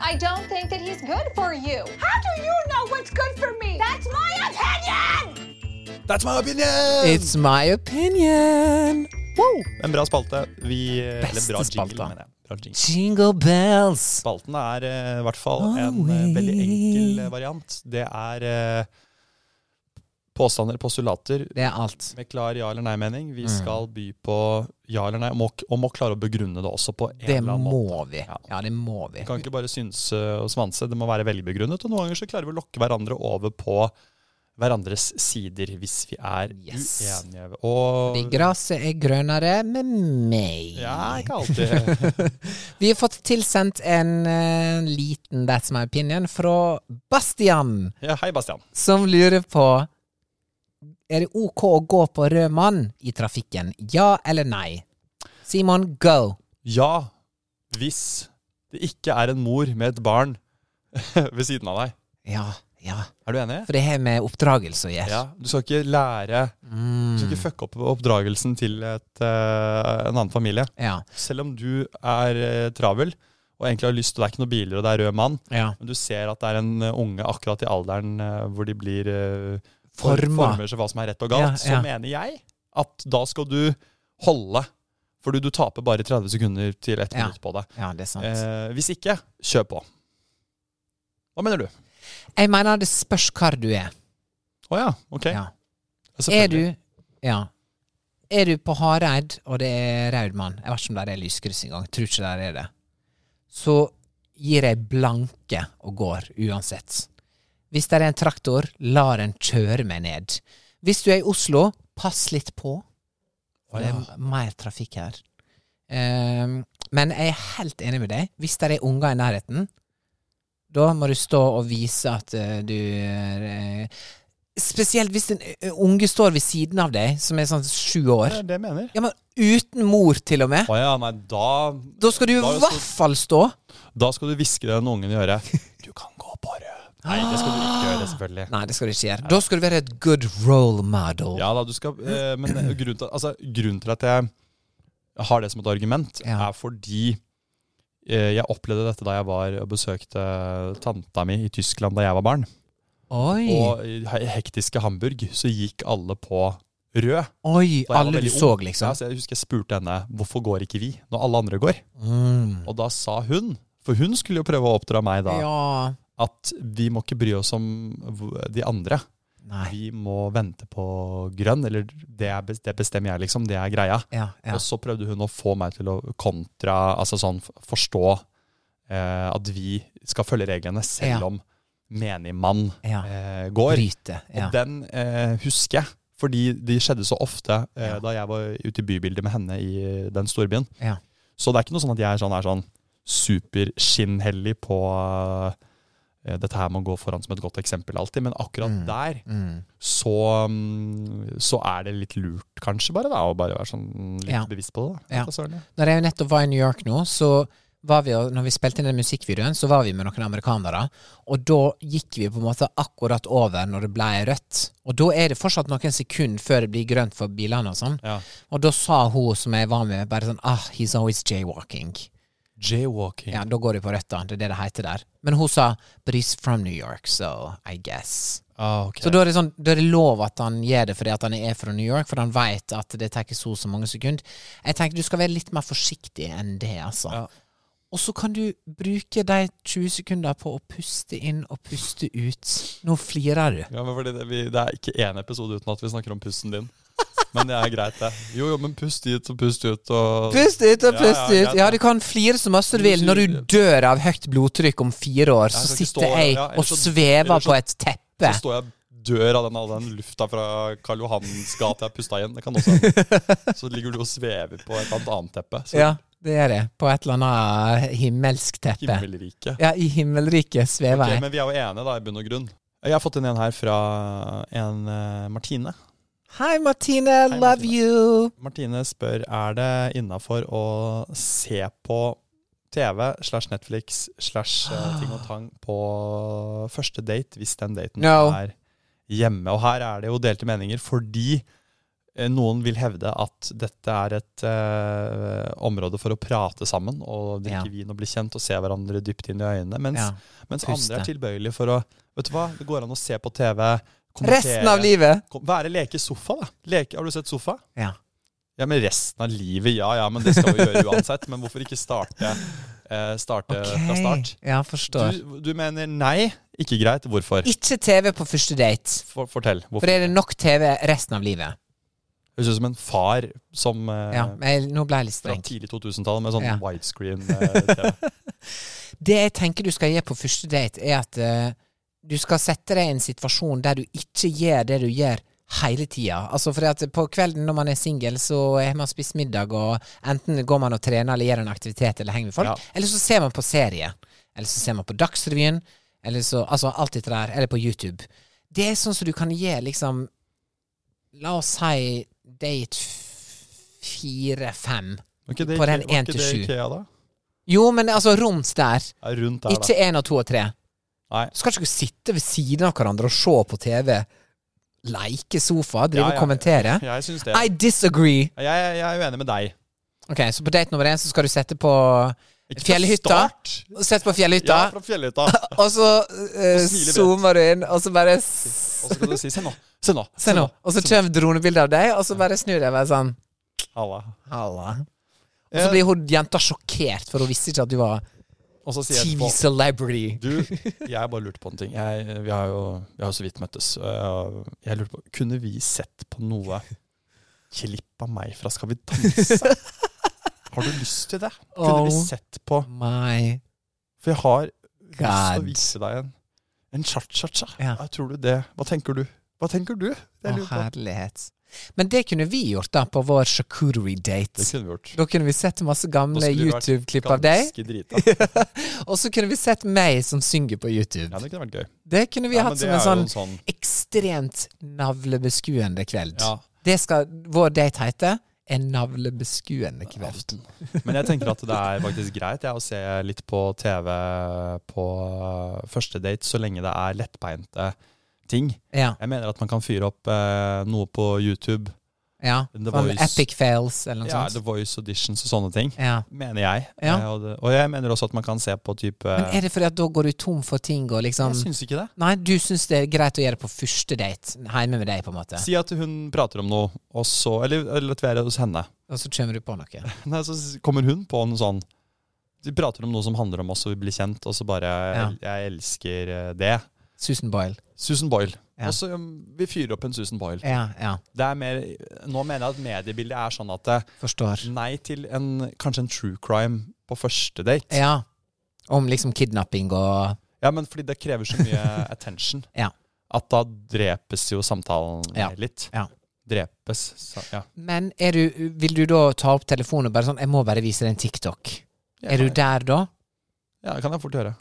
Speaker 5: I don't think that he's good for you. How do you know what's good for me? That's my opinion!
Speaker 2: That's my opinion!
Speaker 1: It's my opinion. Wow.
Speaker 2: En bra spalte. Vi, eh, eller
Speaker 1: Beste
Speaker 2: bra
Speaker 1: spalte.
Speaker 2: jingle, mener jeg. Bra jingle.
Speaker 1: Jingle bells.
Speaker 2: Spalten er eh, i hvert fall en eh, veldig enkel eh, variant. Det er eh, påstander, postulater,
Speaker 1: Det er alt.
Speaker 2: med klar ja- eller nei-mening. Vi skal by på ja eller nei, og må, og må klare å begrunne det også på en
Speaker 1: Det
Speaker 2: eller annen måte.
Speaker 1: må vi.
Speaker 2: Ja.
Speaker 1: Ja, det må vi.
Speaker 2: Vi kan ikke bare synse og svanse, det må være velbegrunnet. Og noen ganger så klarer vi å lokke hverandre over på hverandres sider hvis vi er
Speaker 1: Yes.
Speaker 2: uenige. Og
Speaker 1: Fordi Gresset er grønnere med meg.
Speaker 2: Ja, ikke alltid.
Speaker 1: Vi har fått tilsendt en eh, liten That's my opinion fra Bastian,
Speaker 2: Ja, hei, Bastian.
Speaker 1: som lurer på Er det OK å gå på rød mann i trafikken? Ja eller nei? Simon, go!
Speaker 2: Ja, hvis det ikke er en mor med et barn *laughs* ved siden av deg.
Speaker 1: Ja, ja.
Speaker 2: Er du enig?
Speaker 1: For det har med oppdragelse Mm. å gjøre.
Speaker 2: Ja, Du skal ikke lære Du skal ikke fucke opp oppdragelsen til et, eh, en annen familie.
Speaker 1: Ja.
Speaker 2: Selv om du er eh, travel og egentlig har lyst, og det er ikke noen biler og det er rød mann,
Speaker 1: ja.
Speaker 2: men du ser at det er en eh, unge akkurat i alderen eh, hvor de blir eh, for-
Speaker 1: Forma.
Speaker 2: former seg hva som er rett og galt,
Speaker 1: Ja, ja.
Speaker 2: så mener jeg at da skal du holde. Fordi du taper bare 30 sekunder til ett
Speaker 1: Ja.
Speaker 2: minutt på det.
Speaker 1: Ja, det er sant.
Speaker 2: Eh, hvis ikke, kjør på. Hva mener du?
Speaker 1: Jeg mener det spørs hvor du er.
Speaker 2: Å ja, ok.
Speaker 1: Ja. Er du
Speaker 2: Selvfølgelig.
Speaker 1: Ja. Er du på Hareid, og det er raud mann Jeg vet ikke om det er lyskryss engang. Tror ikke det er det. Så gir jeg blanke og går, uansett. Hvis det er en traktor, lar en kjøre meg ned. Hvis du er i Oslo, pass litt på.
Speaker 2: Å
Speaker 1: Det
Speaker 2: ja.
Speaker 1: er mer trafikk her. Ehm, men jeg er helt enig med deg. Hvis det er unger i nærheten, da må du stå og vise at eh, du eh, Spesielt hvis en eh, unge står ved siden av deg, som er sånn sju
Speaker 2: Det
Speaker 1: år.
Speaker 2: er det jeg mener.
Speaker 1: Ja, men uten mor, til og med.
Speaker 2: Å ja, nei, da
Speaker 1: Da skal du i
Speaker 2: Da er det
Speaker 1: hvert fall stå.
Speaker 2: Da skal du hviske den ungen i
Speaker 1: *laughs*
Speaker 2: øret. Du kan gå på rød. Nei, det skal du ikke gjøre, selvfølgelig.
Speaker 1: Nei, det skal du ikke gjøre. Da skal du være et good role model.
Speaker 2: Ja da, du skal eh, Men grunnen til, altså, grunnen til at jeg har det som et argument,
Speaker 1: Ja.
Speaker 2: er fordi eh, jeg opplevde dette da jeg var og besøkte eh, tanta mi i Tyskland da jeg var barn.
Speaker 1: Oi,
Speaker 2: Og i he- hektiske Hamburg så gikk alle på rød.
Speaker 1: oi,
Speaker 2: Da jeg var
Speaker 1: alle du
Speaker 2: veldig
Speaker 1: så,
Speaker 2: ung. Ja,
Speaker 1: liksom.
Speaker 2: så jeg husker jeg spurte henne hvorfor går ikke vi når alle andre går.
Speaker 1: Mm.
Speaker 2: Og da sa hun, for hun skulle jo prøve å oppdra meg da,
Speaker 1: Ja.
Speaker 2: at vi må ikke bry oss om hv- de andre.
Speaker 1: Nei.
Speaker 2: Vi må vente på grønn, eller det, er, bes- det bestemmer jeg liksom, det er greia.
Speaker 1: Ja, ja.
Speaker 2: Og så prøvde hun å få meg til å kontra, altså sånn f- forstå eh, at vi skal følge reglene selv
Speaker 1: Ja.
Speaker 2: om menigmann
Speaker 1: Ja.
Speaker 2: eh, går.
Speaker 1: Bryte. Ja.
Speaker 2: Og den eh, husker jeg, fordi de skjedde så ofte eh, da jeg var ute i bybildet med henne i eh, den storbyen.
Speaker 1: Ja.
Speaker 2: Så det er ikke noe sånn at jeg er sånn, er sånn superskinnhellig på eh, dette her med å gå foran som et godt eksempel alltid, men akkurat der
Speaker 1: Mm.
Speaker 2: så, mm, så er det litt lurt kanskje bare da, å bare være sånn litt
Speaker 1: Ja.
Speaker 2: bevisst på det. Da.
Speaker 1: Ja.
Speaker 2: Hva søren, ja.
Speaker 1: Når jeg nettopp var i New York nå, så var vi, jo- når vi spilte inn den musikkvideoen, så var vi med noen amerikanere. Og da gikk vi på en måte akkurat over når det ble rødt. Og da er det fortsatt noen sekunder før det blir grønt for bilene og sånn.
Speaker 2: Ja.
Speaker 1: Og da sa hun som jeg var med, bare sånn Ah, he's always jaywalking.
Speaker 2: Jaywalking.
Speaker 1: Ja, da går de på rødt, da. Det er det det heter der. Men hun sa But he's from New York, so I guess.
Speaker 2: Ah, ok.
Speaker 1: Så da er, det sånn, da er det lov at han gjør det fordi at han er fra New York, for han vet at det tar ikke så og så mange sekunder. Jeg tenker du skal være litt mer forsiktig enn det, altså.
Speaker 2: Ja.
Speaker 1: Og så kan du bruke de 20 sekundene på å puste inn og puste ut. Nå flirer du.
Speaker 2: Ja, men fordi det, vi, det er ikke én episode uten at vi snakker om pusten din. Men det er greit, det. Jo, jo, men pust dit og pust ut og
Speaker 1: Pust ut og
Speaker 2: Ja,
Speaker 1: pust
Speaker 2: ja,
Speaker 1: ut!
Speaker 2: greit,
Speaker 1: Ja,
Speaker 2: ja.
Speaker 1: du kan flire så masse du vil. Når du dør av høyt blodtrykk om fire år, så
Speaker 2: skal ikke
Speaker 1: sitter
Speaker 2: stå-
Speaker 1: jeg
Speaker 2: ja,
Speaker 1: og
Speaker 2: ellers så-
Speaker 1: svever
Speaker 2: ellers så-
Speaker 1: på et teppe.
Speaker 2: Så står jeg og dør av den, all den lufta fra Karl
Speaker 1: *laughs*
Speaker 2: Johans gate jeg pusta igjen. Det kan også hende. Så ligger du og svever på et eller annet annet teppe. Så
Speaker 1: Ja. Det er det. På et eller annet himmelsk teppe.
Speaker 2: Himmelriket.
Speaker 1: Ja, i himmelriket svever
Speaker 2: Ok,
Speaker 1: jeg.
Speaker 2: men vi er jo enige, da, i bunn og grunn. Jeg har fått inn en her fra en eh, Martine.
Speaker 1: Hei, Martine,
Speaker 2: Hei,
Speaker 1: love
Speaker 2: Martine.
Speaker 1: you!
Speaker 2: Martine spør er det innafor å se på TV slash Netflix slash
Speaker 1: Ah.
Speaker 2: eh, ting og tang på første date, hvis den daten
Speaker 1: No.
Speaker 2: er hjemme. Og her er det jo delte meninger, fordi eh, noen vil hevde at dette er et eh, område for å prate sammen og drikke
Speaker 1: Ja.
Speaker 2: vin og bli kjent og se hverandre dypt inn i øynene. Mens,
Speaker 1: Ja.
Speaker 2: mens
Speaker 1: puste.
Speaker 2: andre er tilbøyelige for å Vet du hva, det går an å se på TV, kommentere
Speaker 1: Resten av livet!
Speaker 2: kom- Være leke sofa, da. Leke, har du sett sofa?
Speaker 1: Ja.
Speaker 2: Ja, men resten av livet, ja ja, men det skal vi gjøre uansett. Men hvorfor ikke starte, eh, starte fra start?
Speaker 1: Ja, forstår.
Speaker 2: Du, du mener nei, ikke greit. Hvorfor?
Speaker 1: Ikke TV på første date.
Speaker 2: For, fortell.
Speaker 1: For
Speaker 2: Hvorfor?
Speaker 1: er det nok TV resten av livet?
Speaker 2: Høres ut som en far som eh,
Speaker 1: Ja, men jeg, nå ble jeg litt
Speaker 2: fra
Speaker 1: streng.
Speaker 2: tidlig 2000-tall med sånn
Speaker 1: Ja.
Speaker 2: *laughs* widescreen-TV.
Speaker 1: Det jeg tenker du skal gjøre på første date, er at eh, du skal sette deg i en situasjon der du ikke gjør det du gjør hele tida. Altså fordi at på kvelden når man er singel, så har man spist middag, og enten går man og trener eller gjør en aktivitet eller henger med folk,
Speaker 2: Ja.
Speaker 1: eller så ser man på serie. Eller så ser man på Dagsrevyen, eller så Altså alt dette der. Eller på YouTube. Det er sånn som du kan gjøre, liksom La oss si date f- fire-fem.
Speaker 2: På
Speaker 1: På den
Speaker 2: Var
Speaker 1: en
Speaker 2: ikke
Speaker 1: til
Speaker 2: det
Speaker 1: sju.
Speaker 2: Ikea, da?
Speaker 1: Jo, men altså rundt der.
Speaker 2: Ja, rundt der,
Speaker 1: Ikke én og to og tre.
Speaker 2: Nei.
Speaker 1: Du skal ikke sitte ved siden av hverandre og se på TV, leike sofa, drive
Speaker 2: Ja, ja,
Speaker 1: og kommentere.
Speaker 2: da. *laughs* Jeg syns det.
Speaker 1: I disagree!
Speaker 2: Jeg, jeg, jeg er uenig med deg.
Speaker 1: Ok, Så på date nummer én så skal du sette på
Speaker 2: Ikke fra
Speaker 1: fjellhytta.
Speaker 2: start.
Speaker 1: Sette på fjellhytta,
Speaker 2: Ja, fra fjellhytta.
Speaker 1: og så eh,
Speaker 2: Og smile bredt.
Speaker 1: zoomer du inn, og så bare s-
Speaker 2: Og så kan du si Se nå. Se nå.
Speaker 1: Se nå. Og så
Speaker 2: se
Speaker 1: kommer dronebildet av deg, og så bare snur jeg meg sånn.
Speaker 2: Halla.
Speaker 1: Halla. Og
Speaker 2: Eh,
Speaker 1: så blir hun jenta sjokkert, for hun visste ikke at du var
Speaker 2: og så sier jeg etterpå,
Speaker 1: TV-celebrity.
Speaker 2: Du, jeg bare lurte på en ting. Jeg, vi har jo vi har jo så vidt møttes. og Jeg lurte på, Kunne vi sett på noe klipp av meg fra Skal vi danse? Har du lyst til det? Kunne vi
Speaker 1: Oh.
Speaker 2: sett på
Speaker 1: My
Speaker 2: For jeg har lyst til å
Speaker 1: God.
Speaker 2: vise deg en, en cha-cha-cha.
Speaker 1: Ja.
Speaker 2: Hva Tror du det? Hva tenker du? Hva tenker du? Det,
Speaker 1: Å,
Speaker 2: lurer jeg på.
Speaker 1: herlighet. Men det kunne vi gjort, da, på vår
Speaker 2: det
Speaker 1: charcuterie-date.
Speaker 2: kunne vi gjort.
Speaker 1: Da kunne vi sett masse gamle
Speaker 2: skulle vi vært
Speaker 1: YouTube-klipp av deg,
Speaker 2: Ganske drita.
Speaker 1: og så kunne vi sett meg som synger på YouTube.
Speaker 2: Ja, det kunne vært gøy.
Speaker 1: Det kunne vi
Speaker 2: Ja, men det
Speaker 1: hatt som
Speaker 2: er
Speaker 1: en
Speaker 2: jo
Speaker 1: sånn
Speaker 2: en sånn
Speaker 1: ekstremt navlebeskuende kveld.
Speaker 2: Ja.
Speaker 1: Det skal vår date hete. En navlebeskuende kveld.
Speaker 2: Men jeg tenker at det er faktisk greit jeg, å se litt på TV på eh, første date, så lenge det er lettbeinte ting.
Speaker 1: Ja.
Speaker 2: Jeg mener at man kan fyre opp eh, noe på YouTube.
Speaker 1: ja.
Speaker 2: The
Speaker 1: Sånn
Speaker 2: Voice.
Speaker 1: epic fails, eller noe
Speaker 2: Ja, The
Speaker 1: sånt.
Speaker 2: Voice Auditions og sånne ting,
Speaker 1: Ja.
Speaker 2: mener jeg.
Speaker 1: Ja.
Speaker 2: Eh, og, det, og jeg mener også at man kan se på type
Speaker 1: Men er det fordi at da går du tom for ting og liksom
Speaker 2: Jeg syns ikke det.
Speaker 1: Nei, du syns det er greit å gjøre det på første date hjemme med deg, på en måte.
Speaker 2: Si at hun prater om noe, og så, eller, eller at vi er hos henne.
Speaker 1: Og så kommer du på noe.
Speaker 2: *laughs* Nei, så s- kommer hun på noe sånn Vi prater om noe som handler om oss og vi blir kjent, og så bare Jeg elsker eh, det.
Speaker 1: Susan Boyle.
Speaker 2: Susan Boyle.
Speaker 1: Ja.
Speaker 2: Og så um, Vi fyrer opp en Susan Boyle.
Speaker 1: Ja, ja.
Speaker 2: Det er mer, nå mener jeg at mediebildet er sånn at eh,
Speaker 1: Forstår.
Speaker 2: nei til en, kanskje en true crime på første date. Ja.
Speaker 1: Ja. Om liksom kidnapping og
Speaker 2: men fordi det krever så
Speaker 1: *laughs*
Speaker 2: mye attention.
Speaker 1: Ja.
Speaker 2: At da drepes jo samtalen
Speaker 1: Ja.
Speaker 2: litt.
Speaker 1: Ja.
Speaker 2: Drepes. sa- ja.
Speaker 1: Men er du, vil du da ta opp telefonen og bare sånn 'Jeg må bare vise deg en TikTok'.
Speaker 2: Ja,
Speaker 1: Er du der da?
Speaker 2: Ja, det kan jeg fort gjøre.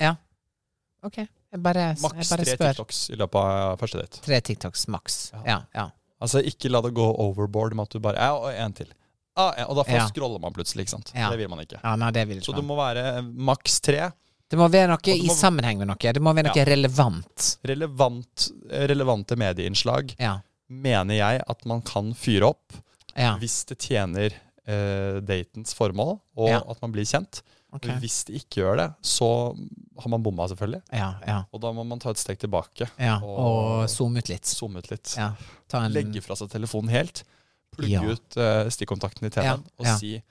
Speaker 1: OK. Jeg bare, jeg
Speaker 2: Maks
Speaker 1: bare
Speaker 2: tre
Speaker 1: spør.
Speaker 2: TikToks i løpet av første date.
Speaker 1: Tre TikToks maks.
Speaker 2: Ja.
Speaker 1: Ja. ja.
Speaker 2: Altså ikke la det gå overboard med at du bare Ja, og en til. Ah, en, og da
Speaker 1: Ja.
Speaker 2: får scroller man plutselig, ikke sant.
Speaker 1: Ja.
Speaker 2: Det vil man ikke.
Speaker 1: ja nei, det vil
Speaker 2: Så
Speaker 1: ikke
Speaker 2: det
Speaker 1: man.
Speaker 2: må være maks tre.
Speaker 1: Det må være noe
Speaker 2: det
Speaker 1: i
Speaker 2: må-
Speaker 1: sammenheng med noe. Det må være noe
Speaker 2: Ja.
Speaker 1: relevant.
Speaker 2: Relevant, eh, relevante medieinnslag
Speaker 1: Ja.
Speaker 2: mener jeg at man kan fyre opp.
Speaker 1: Ja.
Speaker 2: hvis det tjener eh, datens formål, og
Speaker 1: Ja.
Speaker 2: at man blir kjent.
Speaker 1: Ok.
Speaker 2: Hvis det ikke gjør det, så har man bomma, selvfølgelig.
Speaker 1: Ja. Ja.
Speaker 2: Og da må man ta et steg tilbake.
Speaker 1: ja.
Speaker 2: Og-
Speaker 1: Og zoome ut litt.
Speaker 2: Zoome ut litt.
Speaker 1: Ja. Ta en
Speaker 2: Legge fra seg telefonen helt. Plugge
Speaker 1: Ja.
Speaker 2: ut eh, stikkontakten i TV-en
Speaker 1: Ja,
Speaker 2: og
Speaker 1: ja.
Speaker 2: si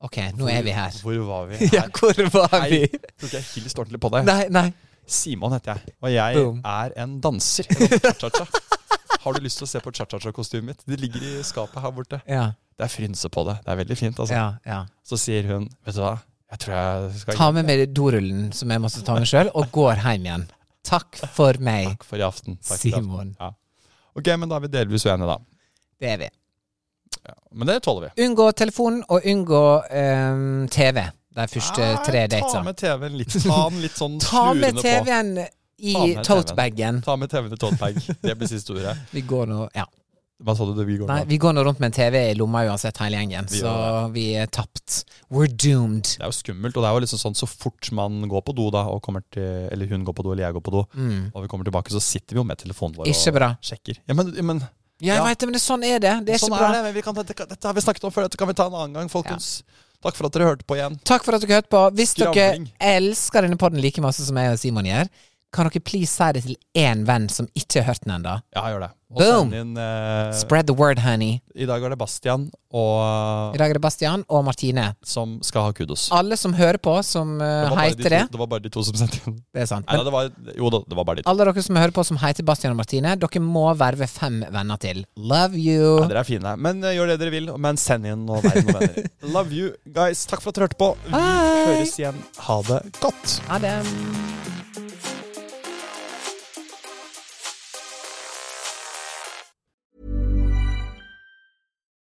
Speaker 1: OK, nå er vi her.
Speaker 2: Hvor var vi?
Speaker 1: *laughs* Ja,
Speaker 2: Her.
Speaker 1: hvor var
Speaker 2: Hei.
Speaker 1: vi?
Speaker 2: Tror ikke jeg hilste ordentlig på deg.
Speaker 1: Nei, nei.
Speaker 2: Simon heter jeg, og jeg
Speaker 1: Boom.
Speaker 2: er en danser. Jeg danser cha-cha-cha. Har du lyst til å se på cha-cha-cha-kostymet mitt? Det ligger i skapet her borte.
Speaker 1: Ja.
Speaker 2: Det er frynse på det. Det er veldig fint. altså.
Speaker 1: Ja. ja.
Speaker 2: Så sier hun, vet du hva, jeg tror jeg skal
Speaker 1: Ta med meg dorullen som jeg måtte ta med sjøl, og går hjem igjen. Takk for meg,
Speaker 2: Takk for i aften. Takk for i aften.
Speaker 1: Simon.
Speaker 2: Ok, men da er vi delvis uenige, da.
Speaker 1: Det er vi.
Speaker 2: Men det tåler vi.
Speaker 1: Unngå telefon og unngå ehm, TV de første eh,
Speaker 2: Nei,
Speaker 1: tre
Speaker 2: Ah, Ta
Speaker 1: datene.
Speaker 2: med TV-en litt, ta den litt sånn
Speaker 1: *laughs* Ta med
Speaker 2: slurende på.
Speaker 1: TV-en
Speaker 2: Ta
Speaker 1: i
Speaker 2: med
Speaker 1: totebagen.
Speaker 2: Ta med TV-en i totebag. Det blir siste ordet.
Speaker 1: Vi går nå ja.
Speaker 2: Hva sa du det vi går
Speaker 1: Nei,
Speaker 2: med?
Speaker 1: vi går nå rundt med en TV i lomma uansett, hele gjengen.
Speaker 2: Vi
Speaker 1: Så
Speaker 2: gjør
Speaker 1: vi er tapt. We're doomed.
Speaker 2: Det er jo skummelt, og det er jo liksom sånn så fort man går på do, da, og kommer til, eller hun går på do, eller jeg går på do, og vi kommer tilbake, så sitter vi jo med telefonen vår
Speaker 1: Mm. Ikke
Speaker 2: og
Speaker 1: bra.
Speaker 2: sjekker. Ja, men, ja, men
Speaker 1: Ja, jeg
Speaker 2: Ja.
Speaker 1: vet det, men det, sånn er det. Det er
Speaker 2: sånn
Speaker 1: ikke bra.
Speaker 2: er det. men Vi kan, dette, dette har vi snakket om før, dette kan vi ta en annen gang, folkens. Takk for at dere hørte på igjen.
Speaker 1: Takk for at dere hørte på. Hvis
Speaker 2: Skravling.
Speaker 1: dere elsker denne podden like masse som jeg og Simon gjør, kan dere please si det til én venn som ikke har hørt den ennå.
Speaker 2: Ja, gjør det. Og
Speaker 1: Boom!
Speaker 2: send Inn, eh,
Speaker 1: Spread the word, honey.
Speaker 2: I dag er det Bastian og,
Speaker 1: I dag er det Bastian og Martine.
Speaker 2: som skal ha kudos.
Speaker 1: Alle som hører på, som eh,
Speaker 2: Det var bare de
Speaker 1: heter det
Speaker 2: to- Det var bare de to som sendte inn.
Speaker 1: Det er sant.
Speaker 2: Nei, da,
Speaker 1: Men
Speaker 2: det var, jo da, det var bare de to.
Speaker 1: alle dere som hører på som heter Bastian og Martine, dere må verve fem venner til. Love you.
Speaker 2: Ja, dere er fine. Men eh, gjør det dere vil, men send inn noen verden og venner. Love you, guys. Takk for at dere hørte på. Vi
Speaker 1: Hei.
Speaker 2: høres igjen. Ha det godt.
Speaker 1: Ha det.